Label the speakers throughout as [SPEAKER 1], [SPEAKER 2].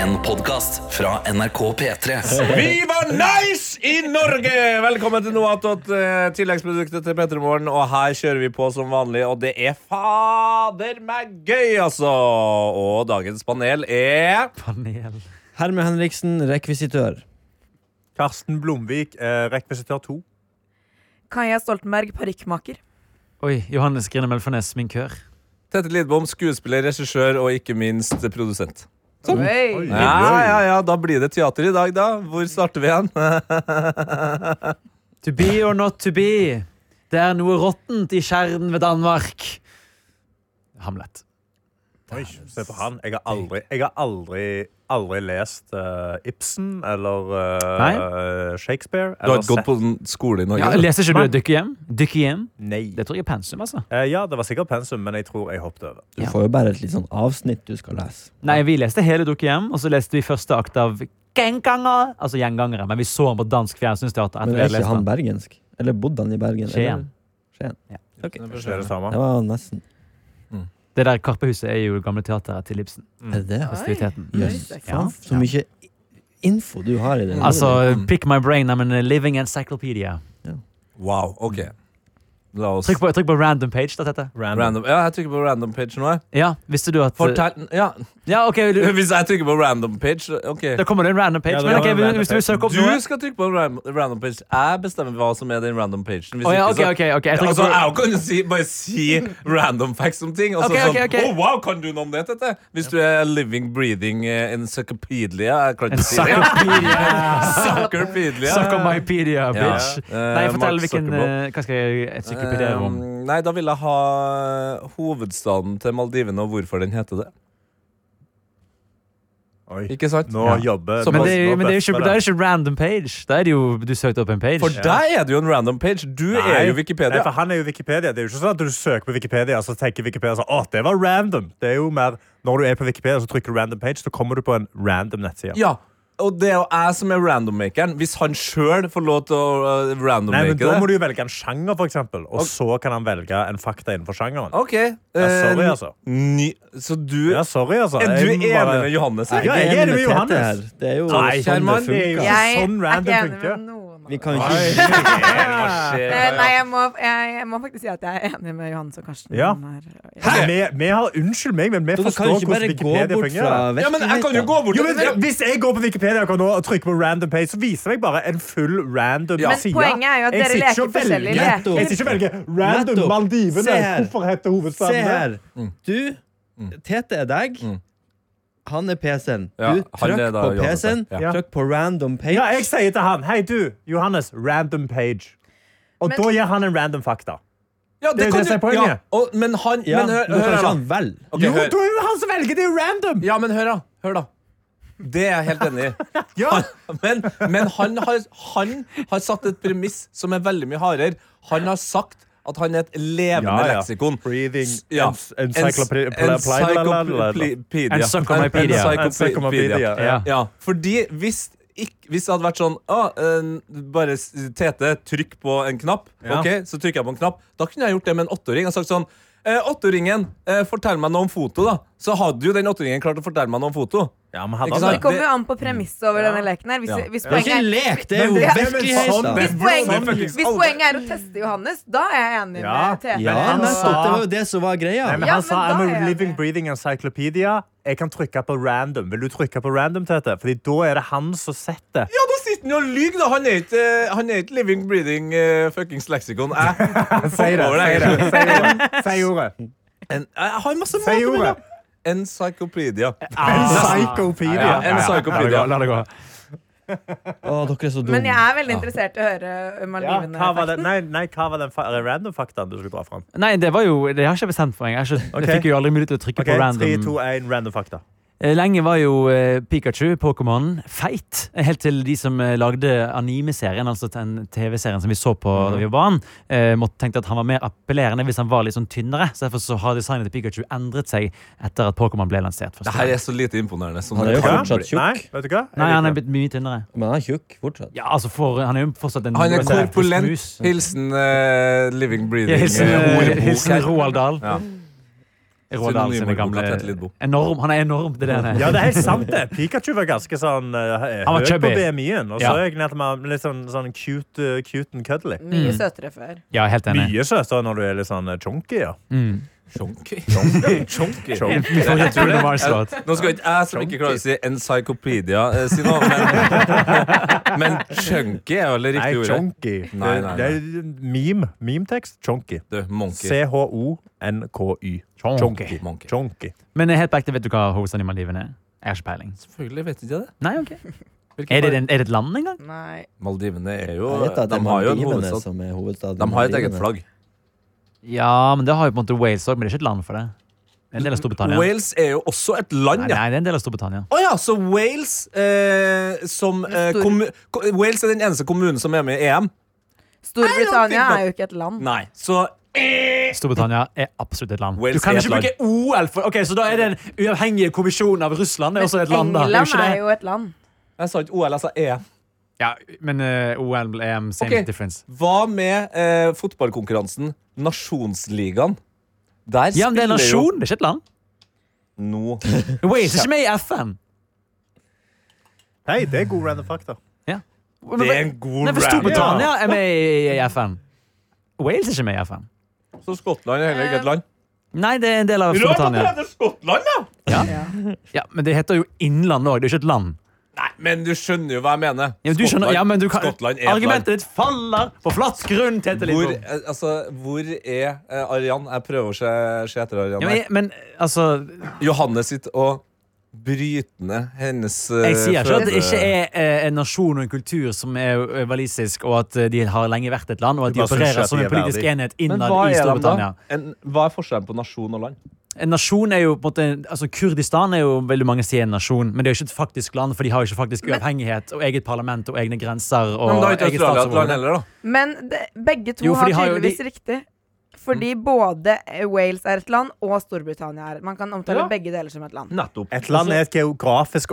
[SPEAKER 1] En podcast fra NRK P3
[SPEAKER 2] Vi var nice i Norge! Velkommen til Noatot, eh, tilleggsproduktet til Petremorgen. Og her kjører vi på som vanlig, og det er fader meg gøy, altså! Og dagens panel er
[SPEAKER 3] Herme Henriksen, rekvisitør.
[SPEAKER 4] Karsten Blomvik, eh, rekvisitør 2.
[SPEAKER 5] Kaja Stoltenberg, parykkmaker.
[SPEAKER 6] Oi, Johannes Grinemel Farnes, sminkør.
[SPEAKER 2] Tette Lidbom, skuespiller, regissør og ikke minst produsent.
[SPEAKER 5] Oi.
[SPEAKER 2] Ja, ja, ja, da blir det teater i dag, da. Hvor starter vi hen?
[SPEAKER 6] To be or not to be. Det er noe råttent i kjernen ved Danmark. Hamlet.
[SPEAKER 4] Oi, se på han. Jeg har aldri, jeg har aldri, aldri lest eh, Ibsen eller eh, Shakespeare.
[SPEAKER 2] Du har
[SPEAKER 4] eller
[SPEAKER 2] ikke gått
[SPEAKER 4] sett-
[SPEAKER 2] på en skole i
[SPEAKER 6] Ja,
[SPEAKER 2] Norge? da.
[SPEAKER 6] leser ikke du Dykke hjem? Dykke hjem?
[SPEAKER 4] Nei.
[SPEAKER 6] Det tror jeg er pensum, altså.
[SPEAKER 4] Eh, ja, det var sikkert pensum, men jeg tror jeg hoppet over.
[SPEAKER 3] Du
[SPEAKER 6] Ja.
[SPEAKER 3] får jo bare et litt sånn avsnitt du skal lese.
[SPEAKER 6] Nei, vi leste hele Dukke hjem, og så leste vi første akt av Genganger. Altså Gjengangere, men vi så den på dansk fjernsynsteater.
[SPEAKER 3] Men
[SPEAKER 6] etter vi
[SPEAKER 3] er
[SPEAKER 6] hadde
[SPEAKER 3] ikke
[SPEAKER 6] lest den.
[SPEAKER 3] han bergensk? Eller bodde han i Bergen?
[SPEAKER 6] Skien.
[SPEAKER 3] Eller? Skien.
[SPEAKER 4] Det er det samme.
[SPEAKER 3] Det var nesten.
[SPEAKER 6] Det der Karpehuset er jo gamle teateret til Ibsen.
[SPEAKER 3] Er det det?
[SPEAKER 6] Festiviteten.
[SPEAKER 3] Jøss.
[SPEAKER 5] det er ikke
[SPEAKER 3] Faen,
[SPEAKER 5] sant.
[SPEAKER 3] så mye i- info du har i den.
[SPEAKER 6] Altså, pick my brain, I'm a living encyclopedia.
[SPEAKER 2] Wow, ok. La oss
[SPEAKER 6] Trykk på, trykk på random page, da, Tete.
[SPEAKER 2] random. Ja, jeg trykker på random page nå. jeg.
[SPEAKER 6] Ja, visste du at
[SPEAKER 2] Fortell Ja,
[SPEAKER 6] Ja, ok, vil du,
[SPEAKER 2] hvis jeg trykker på random page, ok.
[SPEAKER 6] Da kommer det en random page.
[SPEAKER 4] Ja, det
[SPEAKER 6] men ok,
[SPEAKER 4] kommer en random
[SPEAKER 6] hvis du vil søke opp noe
[SPEAKER 2] Du skal trykke på en ran- random page. Jeg bestemmer hva som er den random pagen. Hvis
[SPEAKER 6] Å ja,
[SPEAKER 2] ikke,
[SPEAKER 6] ok,
[SPEAKER 2] så-
[SPEAKER 6] ok, ok. Jeg trykker
[SPEAKER 2] altså,
[SPEAKER 6] på-
[SPEAKER 2] jeg kan jo si, bare si random facts om ting. Og så
[SPEAKER 6] Ok, ok,
[SPEAKER 2] sånn,
[SPEAKER 6] ok.
[SPEAKER 2] «Å, wow, Kan du noe om det, Tete? Hvis du er living, breathing eh, encyclopedia Jeg klarer ikke å si det. Encyclopedia. Ja.
[SPEAKER 6] Suckermypedia, bitch.
[SPEAKER 2] Eh,
[SPEAKER 6] Nei,
[SPEAKER 2] Mark
[SPEAKER 6] fortell hvilken
[SPEAKER 2] Zuckerberg.
[SPEAKER 6] eh, Hva skal jeg encyklopedere om?
[SPEAKER 2] Um, nei, da vil jeg ha hovedstaden til Maldivene og hvorfor den heter det.
[SPEAKER 4] Oi.
[SPEAKER 2] Ikke sant?
[SPEAKER 4] Nå jobber
[SPEAKER 2] Så
[SPEAKER 6] Men
[SPEAKER 2] pass-
[SPEAKER 6] det, er jo- men det er jo ikke,
[SPEAKER 4] bøffer
[SPEAKER 6] det er jo ikke random page. Da er det jo du søkte opp en page.
[SPEAKER 2] For deg er det jo en random page. Du er jo Wikipedia.
[SPEAKER 4] Nei, for han er jo Wikipedia. Det er jo ikke sånn at du søker på Wikipedia og så tenker Wikipedia sånn, åh, det var random. Det er jo mer, når du er på Wikipedia så trykker du random page, så kommer du på en random nettside.
[SPEAKER 2] Ja, og det er jo jeg som er randommakeren. Hvis han sjøl får lov til å uh,
[SPEAKER 4] Nei, men
[SPEAKER 2] randommake
[SPEAKER 4] Da må
[SPEAKER 2] det
[SPEAKER 4] du jo velge en sjanger, for eksempel, og så kan han velge en fakta innenfor sjangeren.
[SPEAKER 2] Ok.
[SPEAKER 4] Ja, sorry,
[SPEAKER 2] eh,
[SPEAKER 4] altså.
[SPEAKER 2] Ny, så du
[SPEAKER 4] Ja, sorry, altså.
[SPEAKER 2] Er du
[SPEAKER 4] Jeg må
[SPEAKER 2] enig
[SPEAKER 4] bare-
[SPEAKER 2] med Johannes?
[SPEAKER 4] Nei,
[SPEAKER 2] her?
[SPEAKER 4] Ja, jeg er enig med
[SPEAKER 3] Tete
[SPEAKER 4] Johannes.
[SPEAKER 3] her. Det er jo
[SPEAKER 4] Nei,
[SPEAKER 3] sånn det
[SPEAKER 2] Kjerman,
[SPEAKER 4] det er jo-
[SPEAKER 3] funker.
[SPEAKER 4] Ja,
[SPEAKER 5] Jeg
[SPEAKER 4] sånn
[SPEAKER 5] er
[SPEAKER 4] random
[SPEAKER 5] ikke enig
[SPEAKER 4] funker.
[SPEAKER 5] med noen. av
[SPEAKER 3] Vi
[SPEAKER 5] dem.
[SPEAKER 3] kan jo ikke
[SPEAKER 5] Eh, Nei, jeg må, jeg, jeg må faktisk si at jeg er enig med Johannes og Karsten.
[SPEAKER 4] Ja.
[SPEAKER 5] her.
[SPEAKER 4] Vi, vi har, unnskyld meg, men vi
[SPEAKER 3] Dere kan
[SPEAKER 4] forstår
[SPEAKER 3] jo ikke
[SPEAKER 4] hvordan
[SPEAKER 3] bare gå
[SPEAKER 4] Wikipedia
[SPEAKER 3] bort fra
[SPEAKER 4] fungerer.
[SPEAKER 2] Ja, men jeg kan jo gå bort
[SPEAKER 4] Jo, men, hvis jeg går på Wikipedia akkurat nå og trykker på random page, så viser jeg bare en full random
[SPEAKER 2] Ja. Men
[SPEAKER 4] side.
[SPEAKER 5] poenget er jo
[SPEAKER 4] Jeg
[SPEAKER 5] at dere
[SPEAKER 4] sitter ikke
[SPEAKER 5] leker
[SPEAKER 4] og velger-
[SPEAKER 5] forskjellige leker.
[SPEAKER 4] Jeg sitter ikke og velger random
[SPEAKER 3] Nettopp. Se
[SPEAKER 4] Maldivene.
[SPEAKER 3] her.
[SPEAKER 4] Hvorfor heter
[SPEAKER 3] Se
[SPEAKER 4] hovedstaden det?
[SPEAKER 3] her.
[SPEAKER 2] Mm.
[SPEAKER 3] Du, Tete er deg. Han er PC-en.
[SPEAKER 2] Ja,
[SPEAKER 3] Du,
[SPEAKER 2] han
[SPEAKER 3] trykk
[SPEAKER 2] er da
[SPEAKER 3] på
[SPEAKER 2] Johannes,
[SPEAKER 3] PC-en.
[SPEAKER 2] ja.
[SPEAKER 3] Trykk på random page.
[SPEAKER 4] Ja, jeg sier til han Hei, du, Johannes, random page. Og
[SPEAKER 5] Men-
[SPEAKER 4] da gir han en random fakta.
[SPEAKER 2] Ja, det
[SPEAKER 4] Det-
[SPEAKER 2] kan
[SPEAKER 4] det
[SPEAKER 2] du
[SPEAKER 4] er poenget.
[SPEAKER 2] ja, og, Men han
[SPEAKER 3] Ja,
[SPEAKER 2] Men hør,
[SPEAKER 3] nå kan
[SPEAKER 2] hør
[SPEAKER 3] ikke
[SPEAKER 2] her,
[SPEAKER 3] han
[SPEAKER 4] sånn-
[SPEAKER 3] vel.
[SPEAKER 2] da. Ok,
[SPEAKER 4] jo,
[SPEAKER 2] hør.
[SPEAKER 4] da er det han som velger! Det er jo random!
[SPEAKER 2] Ja, men hør, da. Hør, da. Det er jeg helt enig i.
[SPEAKER 4] Ja.
[SPEAKER 2] Men, men han, har, han har satt et premiss som er veldig mye hardere. Han har sagt at han er et levende
[SPEAKER 4] Ja, ja.
[SPEAKER 2] leksikon.
[SPEAKER 4] Breathing
[SPEAKER 2] S- ja.
[SPEAKER 4] ens- encyclopedia-
[SPEAKER 2] Ens- encyclopedia.
[SPEAKER 6] Encyclopedia.
[SPEAKER 2] Encyclopedia.
[SPEAKER 4] Ja.
[SPEAKER 6] Ja.
[SPEAKER 2] Ja, fordi hvis ikk- hvis det hadde vært sånn «Å, eh, Bare s- Tete, trykk på en knapp.
[SPEAKER 4] Ja.
[SPEAKER 2] Ok, Så trykker jeg på en knapp. Da kunne jeg gjort det med en åtteåring. Og sagt sånn eh, Åtteåringen, eh, fortell meg noe om foto, da. Så hadde jo den åtteåringen klart å fortelle meg noe om foto.
[SPEAKER 4] Ja, men hadde
[SPEAKER 2] Ikke
[SPEAKER 4] han
[SPEAKER 2] sant?
[SPEAKER 5] Det kommer jo an på premisset over denne leken her. Hvis,
[SPEAKER 2] Ja.
[SPEAKER 5] hvis
[SPEAKER 3] Det er
[SPEAKER 5] poenget
[SPEAKER 3] ikke en
[SPEAKER 5] er
[SPEAKER 3] lek, det er jo
[SPEAKER 5] Ja, men
[SPEAKER 3] virkelighet. da.
[SPEAKER 5] Hvis
[SPEAKER 2] Sånn
[SPEAKER 5] poenget,
[SPEAKER 2] fuckings
[SPEAKER 5] hvis
[SPEAKER 2] alder.
[SPEAKER 5] poenget er å teste Johannes, da er jeg enig
[SPEAKER 4] Ja.
[SPEAKER 5] med Tete.
[SPEAKER 3] Ja,
[SPEAKER 4] Men han
[SPEAKER 2] sånn,
[SPEAKER 3] nettopp.
[SPEAKER 4] sa-
[SPEAKER 3] Det var jo det som var greia.
[SPEAKER 4] Nei, men
[SPEAKER 5] Ja,
[SPEAKER 4] han
[SPEAKER 5] men
[SPEAKER 4] sa
[SPEAKER 5] da
[SPEAKER 4] I'm
[SPEAKER 5] er jeg
[SPEAKER 4] a living,
[SPEAKER 5] enig.
[SPEAKER 4] breathing encyclopedia. Jeg kan trykke på random. Vil du trykke på random, Tete? Fordi da er det han som setter.
[SPEAKER 2] Ja, da sitter han jo og lyver, da. Han er ikke, han er ikke living, breathing, eh, fuckings leksikon. Jeg,
[SPEAKER 4] Si det.
[SPEAKER 2] over det,
[SPEAKER 4] Si
[SPEAKER 2] jeg.
[SPEAKER 4] det. Si ordet.
[SPEAKER 2] en, jeg har masse
[SPEAKER 4] Si ordet.
[SPEAKER 2] mat. Encyclopedia.
[SPEAKER 4] Encyclopedia.
[SPEAKER 2] Ja, encyclopedia.
[SPEAKER 6] La det gå.
[SPEAKER 3] Å, dere er så dumme.
[SPEAKER 5] Men jeg er veldig interessert i å høre
[SPEAKER 4] Ja, hva var det?
[SPEAKER 5] Maldivene-fakten.
[SPEAKER 4] Nei, nei, hva var den fa random faktaen du skulle dra fram?
[SPEAKER 6] Nei, det var jo Det har ikke jeg bestemt for meg. Jeg, har ikke,
[SPEAKER 4] Ok.
[SPEAKER 6] jeg fikk jo aldri mulighet til å trykke
[SPEAKER 4] Ok, 3,
[SPEAKER 6] på
[SPEAKER 4] 2,
[SPEAKER 6] random.
[SPEAKER 4] 1, random fakta.
[SPEAKER 6] Eh, Lenge var jo eh, Pikachu, Pokémon, feit. Helt til de som eh, lagde anime-serien, altså den TV-serien som vi så på da vi var barn, eh, måtte tenkte at han var mer appellerende hvis han var litt sånn tynnere. Så derfor så har designet til Pikachu endret seg etter at Pokémon ble lansert.
[SPEAKER 2] Det
[SPEAKER 6] Første.
[SPEAKER 2] her
[SPEAKER 6] gang.
[SPEAKER 2] er så lite imponerende. Som
[SPEAKER 3] Han er
[SPEAKER 2] det
[SPEAKER 3] jo
[SPEAKER 2] kan
[SPEAKER 3] fortsatt
[SPEAKER 2] bli.
[SPEAKER 3] tjukk.
[SPEAKER 4] Nei, vet du hva? Jeg
[SPEAKER 6] Nei, han er
[SPEAKER 4] liker det.
[SPEAKER 6] blitt mye tynnere.
[SPEAKER 3] Men han er tjukk fortsatt.
[SPEAKER 6] Ja, altså for, Han er jo fortsatt en
[SPEAKER 2] Han er
[SPEAKER 6] en
[SPEAKER 2] korpulent.
[SPEAKER 6] mus.
[SPEAKER 2] Hilsen eh, living, breathing
[SPEAKER 6] Ja, Hilsen,
[SPEAKER 2] eh, ordbok
[SPEAKER 6] hilsen
[SPEAKER 2] her.
[SPEAKER 6] Roald Dahl.
[SPEAKER 2] Ja.
[SPEAKER 6] Roald Dahl sine
[SPEAKER 2] Synonymer i boka
[SPEAKER 6] gamle
[SPEAKER 2] til Tete Lidbom.
[SPEAKER 6] enorm, Han er enorm, det er det han er.
[SPEAKER 4] Ja, det er helt sant, det. Pikachu var ganske sånn
[SPEAKER 6] Han
[SPEAKER 4] uh,
[SPEAKER 6] var
[SPEAKER 4] høy på
[SPEAKER 6] chubby.
[SPEAKER 4] BMI-en. Og så
[SPEAKER 6] Ja.
[SPEAKER 4] er jeg ned til meg litt sånn, sånn cute, uh, cute and cuddly.
[SPEAKER 5] Mye søtere før.
[SPEAKER 6] Ja, helt enig.
[SPEAKER 4] Mye søtere når du er litt sånn uh, chunky, ja.
[SPEAKER 6] Mm.
[SPEAKER 2] Chonky.
[SPEAKER 4] Chonky.
[SPEAKER 6] Jeg tror det var en slått.
[SPEAKER 2] Nå skal ikke jeg som ikke klarer å si encyclopedia, eh, si noe, men, men chunky er vel det
[SPEAKER 4] Nei,
[SPEAKER 2] riktige ordet.
[SPEAKER 4] chonky.
[SPEAKER 2] Nei, nei, nei.
[SPEAKER 4] Det er meme. Memetekst. Chonky.
[SPEAKER 2] Du, monkey.
[SPEAKER 4] C-h-o-n-k-y.
[SPEAKER 6] Chonky.
[SPEAKER 2] Monkey.
[SPEAKER 4] Chonky.
[SPEAKER 6] Men helt på ekte, vet du hva hovedstadionmaliven er? Jeg har ikke peiling.
[SPEAKER 2] Selvfølgelig vet ikke jeg det.
[SPEAKER 6] Nei, ok.
[SPEAKER 2] Hvilken
[SPEAKER 6] Er det,
[SPEAKER 2] par-
[SPEAKER 6] en, er det et land engang?
[SPEAKER 5] Nei.
[SPEAKER 2] Maldivene er jo
[SPEAKER 7] Jeg vet at
[SPEAKER 2] De
[SPEAKER 7] det er
[SPEAKER 2] har jo en
[SPEAKER 7] Maldivene
[SPEAKER 2] hovedstad.
[SPEAKER 7] som er hovedstaden.
[SPEAKER 2] De har et eget
[SPEAKER 7] Maldivene.
[SPEAKER 2] flagg.
[SPEAKER 6] Ja, men det har jo på en måte Wales òg, men det er ikke et land for det. Det er en del av Storbritannia.
[SPEAKER 2] Wales er jo også et land,
[SPEAKER 6] Nei,
[SPEAKER 2] ja.
[SPEAKER 6] nei, det er en del av Storbritannia.
[SPEAKER 2] Å ja, så Wales eh, som eh,
[SPEAKER 5] Stor-
[SPEAKER 2] kommu ko- Wales er den eneste kommunen som er med i EM?
[SPEAKER 5] Storbritannia
[SPEAKER 2] think that-
[SPEAKER 5] er jo ikke et land.
[SPEAKER 2] Nei. Så
[SPEAKER 6] Storbritannia er absolutt et land.
[SPEAKER 2] Wales
[SPEAKER 6] du kan
[SPEAKER 2] er et
[SPEAKER 6] ikke bruke OL for Ok, Så da er det en uavhengig kommisjon av Russland? Det er også et land, da.
[SPEAKER 5] England
[SPEAKER 6] ikke
[SPEAKER 5] er
[SPEAKER 6] det?
[SPEAKER 5] jo et land.
[SPEAKER 2] Jeg sa ikke OL, jeg sa EM.
[SPEAKER 6] Ja, men eh, OL, EM, same
[SPEAKER 2] Ok.
[SPEAKER 6] difference.
[SPEAKER 2] Hva med eh, fotballkonkurransen Nasjonsligaen? Der
[SPEAKER 6] Ja, men det er
[SPEAKER 2] spiller
[SPEAKER 6] en
[SPEAKER 2] jo
[SPEAKER 6] nasjon, det er ikke et land.
[SPEAKER 2] nå
[SPEAKER 6] Wales er ikke med i FN.
[SPEAKER 4] Hei, det er god random fakta.
[SPEAKER 2] Det er en god
[SPEAKER 6] Nei, for
[SPEAKER 2] rap.
[SPEAKER 6] Storbritannia er med i, i FN. Wales er ikke med i FN.
[SPEAKER 2] Så Skottland er heller ikke et land.
[SPEAKER 6] Nei, det er en del av Storbritannia.
[SPEAKER 2] heter Skottland, da!
[SPEAKER 6] Ja, Men det heter jo Innland òg, det er jo ikke et land.
[SPEAKER 2] Nei, men du skjønner jo hva jeg mener.
[SPEAKER 6] Ja, men du skjønner,
[SPEAKER 2] Skottland-
[SPEAKER 6] ja, men du kan,
[SPEAKER 2] Skottland er et land.
[SPEAKER 6] argumentet sånn- ditt faller på flatt grunn, Tete
[SPEAKER 2] Hvor,
[SPEAKER 6] Lidbom.
[SPEAKER 2] eh, altså, hvor er eh, Arian? Jeg prøver å se, se etter Arian.
[SPEAKER 6] Ja, men,
[SPEAKER 2] her.
[SPEAKER 6] jeg- men altså
[SPEAKER 2] Johanne sitter og bryter ned hennes eh,
[SPEAKER 6] Jeg sier ikke at det
[SPEAKER 2] føde-
[SPEAKER 6] ikke er eh, en nasjon og en kultur som er eh, walisisk, og at eh, de har lenge vært et land, og at de
[SPEAKER 4] Du bare synes ikke
[SPEAKER 6] opererer
[SPEAKER 4] at
[SPEAKER 6] som
[SPEAKER 4] de
[SPEAKER 6] en
[SPEAKER 4] er
[SPEAKER 6] politisk
[SPEAKER 4] verdig.
[SPEAKER 6] enhet
[SPEAKER 2] Men
[SPEAKER 6] innad
[SPEAKER 2] hva
[SPEAKER 6] i
[SPEAKER 2] er, de da?
[SPEAKER 6] Storbritannia.
[SPEAKER 2] En, hva er forskjellen på nasjon og land?
[SPEAKER 6] En nasjon er jo på en måte Altså Kurdistan er jo veldig mange sier en nasjon, men det er jo ikke et faktisk land, for de har jo ikke faktisk uavhengighet og eget parlament og egne grenser. Og
[SPEAKER 2] Men da er ikke
[SPEAKER 6] eget
[SPEAKER 2] Australia et land
[SPEAKER 6] statsoverhode.
[SPEAKER 2] heller, da.
[SPEAKER 5] Men det, begge to
[SPEAKER 6] Jo, for
[SPEAKER 5] har
[SPEAKER 6] de har jo-
[SPEAKER 5] tydeligvis
[SPEAKER 6] de-
[SPEAKER 5] riktig. Fordi både Wales er et land, og Storbritannia er Man kan omtale
[SPEAKER 2] Ja.
[SPEAKER 5] begge deler som et land.
[SPEAKER 2] Nettopp.
[SPEAKER 4] Et land er et geografisk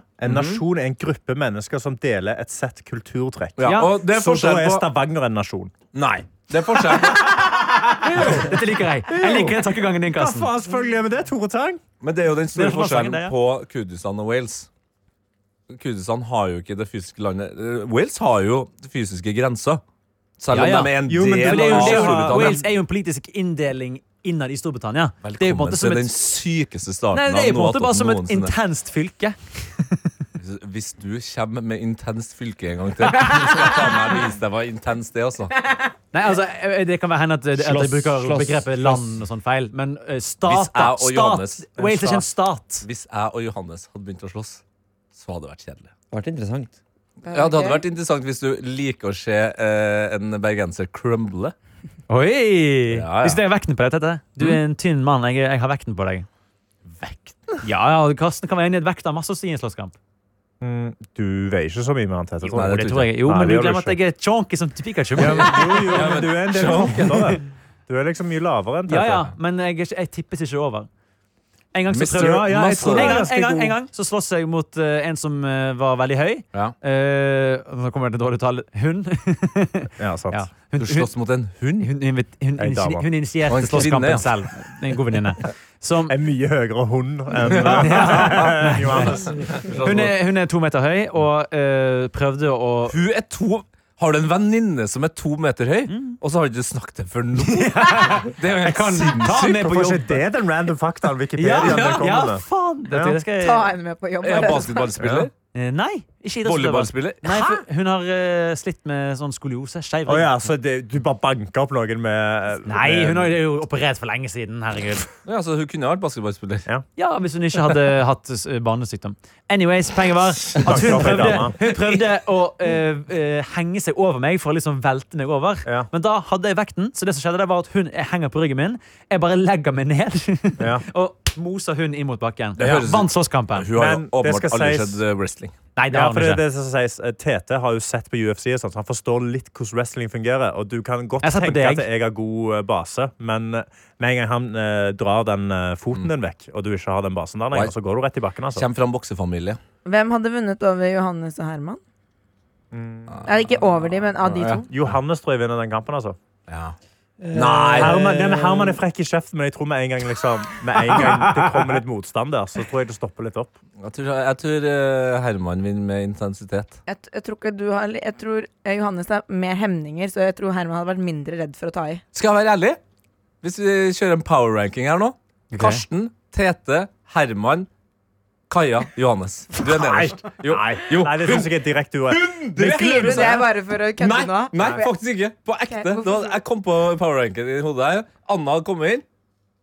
[SPEAKER 2] Mhm.
[SPEAKER 4] En nasjon er en gruppe mennesker som deler et sett kulturtrekk.
[SPEAKER 2] Ja,
[SPEAKER 6] Ja,
[SPEAKER 2] og det er
[SPEAKER 4] Så da
[SPEAKER 2] forskjell
[SPEAKER 4] er
[SPEAKER 2] på
[SPEAKER 4] Stavanger en nasjon.
[SPEAKER 2] Nei. Det er forskjell.
[SPEAKER 6] Dette liker jeg. Jeg liker den tankegangen din, Karsten.
[SPEAKER 4] selvfølgelig er vi det, Tore Tang?
[SPEAKER 2] Men det er jo den store
[SPEAKER 6] Det er som er sangen,
[SPEAKER 2] forskjellen
[SPEAKER 6] det, ja.
[SPEAKER 2] på Kurdistan og Wales. Kurdistan har jo ikke det fysiske landet eh, Wales har jo fysiske grenser. Selv om
[SPEAKER 6] Ja, ja.
[SPEAKER 2] de er en
[SPEAKER 4] Jo, men
[SPEAKER 2] del
[SPEAKER 6] For det er jo,
[SPEAKER 2] av
[SPEAKER 6] det er jo,
[SPEAKER 2] Storbritannia.
[SPEAKER 6] Wales er jo en politisk inndeling innad i Storbritannia. det er jo på en
[SPEAKER 2] Velkommen
[SPEAKER 6] måte som
[SPEAKER 2] til den
[SPEAKER 6] et
[SPEAKER 2] sykeste starten
[SPEAKER 6] Nei, det er jo på
[SPEAKER 2] av
[SPEAKER 6] en måte
[SPEAKER 2] noe
[SPEAKER 6] bare som et
[SPEAKER 2] noensinne.
[SPEAKER 6] intenst fylke.
[SPEAKER 2] Hvis du kommer med intenst fylke en gang til, så skal jeg faen meg vise deg hva intenst det er, altså.
[SPEAKER 6] Nei, altså, eh, Det kan være henne at, at jeg
[SPEAKER 3] Slåss,
[SPEAKER 6] bruker
[SPEAKER 3] slåss,
[SPEAKER 6] begrepet land og sånn feil, men eh,
[SPEAKER 2] Hvis
[SPEAKER 6] stat,
[SPEAKER 2] jeg
[SPEAKER 6] da,
[SPEAKER 2] og Johannes-
[SPEAKER 6] stat Wales er ikke en stat.
[SPEAKER 2] Hvis jeg og Johannes hadde begynt å slåss, så hadde det vært kjedelig.
[SPEAKER 7] Det har vært interessant.
[SPEAKER 2] Ja, Det hadde vært interessant hvis du liker å se eh, en bergenser crumble.
[SPEAKER 6] Oi!
[SPEAKER 2] Ja, ja.
[SPEAKER 6] Hvis det er vekten på deg, Tete. Du er en tynn mann. Jeg, jeg har vekten på deg. Vekten? Ja, ja, Karsten kan være enig i at vekt har masse å si i en slåsskamp.
[SPEAKER 4] Mm, du veier ikke så mye mer enn Tete.
[SPEAKER 6] Jo,
[SPEAKER 4] tror
[SPEAKER 2] Nei,
[SPEAKER 4] jeg.
[SPEAKER 2] det
[SPEAKER 6] det
[SPEAKER 2] tror
[SPEAKER 6] tror jeg. Jo,
[SPEAKER 4] Nei,
[SPEAKER 6] men
[SPEAKER 4] det
[SPEAKER 6] du
[SPEAKER 4] gjør du
[SPEAKER 6] glemmer at jeg er chonky som Pikachu.
[SPEAKER 4] Ja,
[SPEAKER 6] Ja,
[SPEAKER 4] men, jo, jo, men du er en del kortere. Du er liksom mye lavere enn Tete.
[SPEAKER 6] ja, men jeg, er ikke- jeg tippes ikke over. En gang så,
[SPEAKER 2] Mr.
[SPEAKER 6] prøvde, ja, ja, jeg
[SPEAKER 2] Muscle.
[SPEAKER 6] tror- en gang,
[SPEAKER 4] Ganske
[SPEAKER 6] en gang,
[SPEAKER 4] god.
[SPEAKER 6] en gang, så slåss jeg mot eh, en som eh, var veldig høy.
[SPEAKER 2] Ja.
[SPEAKER 6] Eh, nå kommer det et dårlig tall. Hun.
[SPEAKER 4] Ja, sant.
[SPEAKER 6] Ja. Hun,
[SPEAKER 2] Du
[SPEAKER 6] hun,
[SPEAKER 2] slåss mot en
[SPEAKER 6] hun, hun, invit- hun,
[SPEAKER 4] Ei dame.
[SPEAKER 6] initi- hun
[SPEAKER 2] Og en
[SPEAKER 6] initierte
[SPEAKER 2] kvinne,
[SPEAKER 6] slåsskampen
[SPEAKER 2] ja.
[SPEAKER 6] selv. En god venninne. Som
[SPEAKER 4] En mye høyere hund enn enn Johannes.
[SPEAKER 6] Hun er, hun er to meter høy og eh, prøvde å
[SPEAKER 2] Hun er to Har du en venninne som er to meter høy, og så har du ikke snakket til før nå? Det er jo helt
[SPEAKER 6] ta
[SPEAKER 2] sinnssykt.
[SPEAKER 6] med på
[SPEAKER 4] Hvorfor er
[SPEAKER 6] jobb.
[SPEAKER 4] ikke det den random faktaen Wikipedia
[SPEAKER 6] Ja, ja,
[SPEAKER 4] kommer
[SPEAKER 6] ja,
[SPEAKER 4] med?
[SPEAKER 6] faen! Det, det skal jeg,
[SPEAKER 5] Ta henne med på jobb.
[SPEAKER 2] Er hun basketballspiller?
[SPEAKER 6] Eh, nei, ikke idrettsutøver.
[SPEAKER 2] Volleyballspiller?
[SPEAKER 6] Nei, for hun har eh, slitt med sånn skoliose. Skeiv
[SPEAKER 4] Å
[SPEAKER 6] rygg.
[SPEAKER 4] ja, så det, du bare banker opp noen med
[SPEAKER 6] Nei,
[SPEAKER 4] med-
[SPEAKER 6] hun har jo operert for lenge siden. Herregud.
[SPEAKER 2] Ja, så hun kunne ha vært basketballspiller.
[SPEAKER 6] Ja, Hvis hun ikke hadde hatt eh, barnesykdom. Anyways, Poenget var at hun
[SPEAKER 4] Takk for det,
[SPEAKER 6] prøvde,
[SPEAKER 4] dama.
[SPEAKER 6] hun prøvde å eh, eh, henge seg over meg for å liksom velte meg over.
[SPEAKER 4] Ja.
[SPEAKER 6] Men da hadde jeg vekten, så det som skjedde det var at hun henger på ryggen min. Jeg bare legger meg ned
[SPEAKER 4] Ja.
[SPEAKER 6] og moser hun inn mot bakken.
[SPEAKER 2] Det høres-
[SPEAKER 6] Vant slåsskampen.
[SPEAKER 2] Hun har jo
[SPEAKER 4] Men det
[SPEAKER 2] åpenbart
[SPEAKER 4] skal
[SPEAKER 2] aldri
[SPEAKER 4] sies-
[SPEAKER 2] sett eh, wrestling.
[SPEAKER 6] Nei, det
[SPEAKER 4] Ja,
[SPEAKER 6] har
[SPEAKER 4] for
[SPEAKER 6] hun
[SPEAKER 4] det
[SPEAKER 6] ikke.
[SPEAKER 4] er det som sies. Eh, Tete har jo sett på UFC, og sånt, så han forstår litt hvordan wrestling fungerer. Og du kan godt
[SPEAKER 6] Jeg har sett på
[SPEAKER 4] tenke at
[SPEAKER 6] deg.
[SPEAKER 4] jeg har god eh, base, men eh, med en gang han eh, drar den eh,
[SPEAKER 6] Mm.
[SPEAKER 4] foten din vekk, og du ikke har den basen der
[SPEAKER 2] Nei.
[SPEAKER 4] lenger, så går du rett i bakken. altså.
[SPEAKER 2] Kjem fra en boksefamilie.
[SPEAKER 5] Hvem hadde vunnet over Johannes og Herman? Nei, ikke over de, men av de
[SPEAKER 2] Ja.
[SPEAKER 5] to.
[SPEAKER 4] Johannes tror jeg vinner den kampen, altså.
[SPEAKER 2] Ja. Nei.
[SPEAKER 4] Herman, ja, men Herman er frekk i kjeften, men jeg tror med en gang, liksom, med en gang det kommer litt motstand der, så tror jeg det stopper litt opp.
[SPEAKER 2] Jeg tror, jeg tror eh, Herman vinner med intensitet.
[SPEAKER 5] Jeg, t- jeg tror ikke du har Jeg tror eh, Johannes er mer hemninger, så jeg tror Herman hadde vært mindre redd for å ta i.
[SPEAKER 2] Skal jeg være ærlig? Hvis vi kjører en power ranking her nå Karsten, Tete, Herman, Kaja, Johannes. Du er nederst. Jo.
[SPEAKER 4] Nei,
[SPEAKER 2] jo.
[SPEAKER 4] Nei det syns jeg er direkte uett.
[SPEAKER 2] Det
[SPEAKER 5] Sier du det bare for å kødde
[SPEAKER 2] Nei,
[SPEAKER 5] nå?
[SPEAKER 2] nei, faktisk ikke. På ekte.
[SPEAKER 5] hvorfor
[SPEAKER 2] Det var,
[SPEAKER 5] sier du-
[SPEAKER 2] jeg kom på power ranken i hodet her. Anna hadde kommet inn.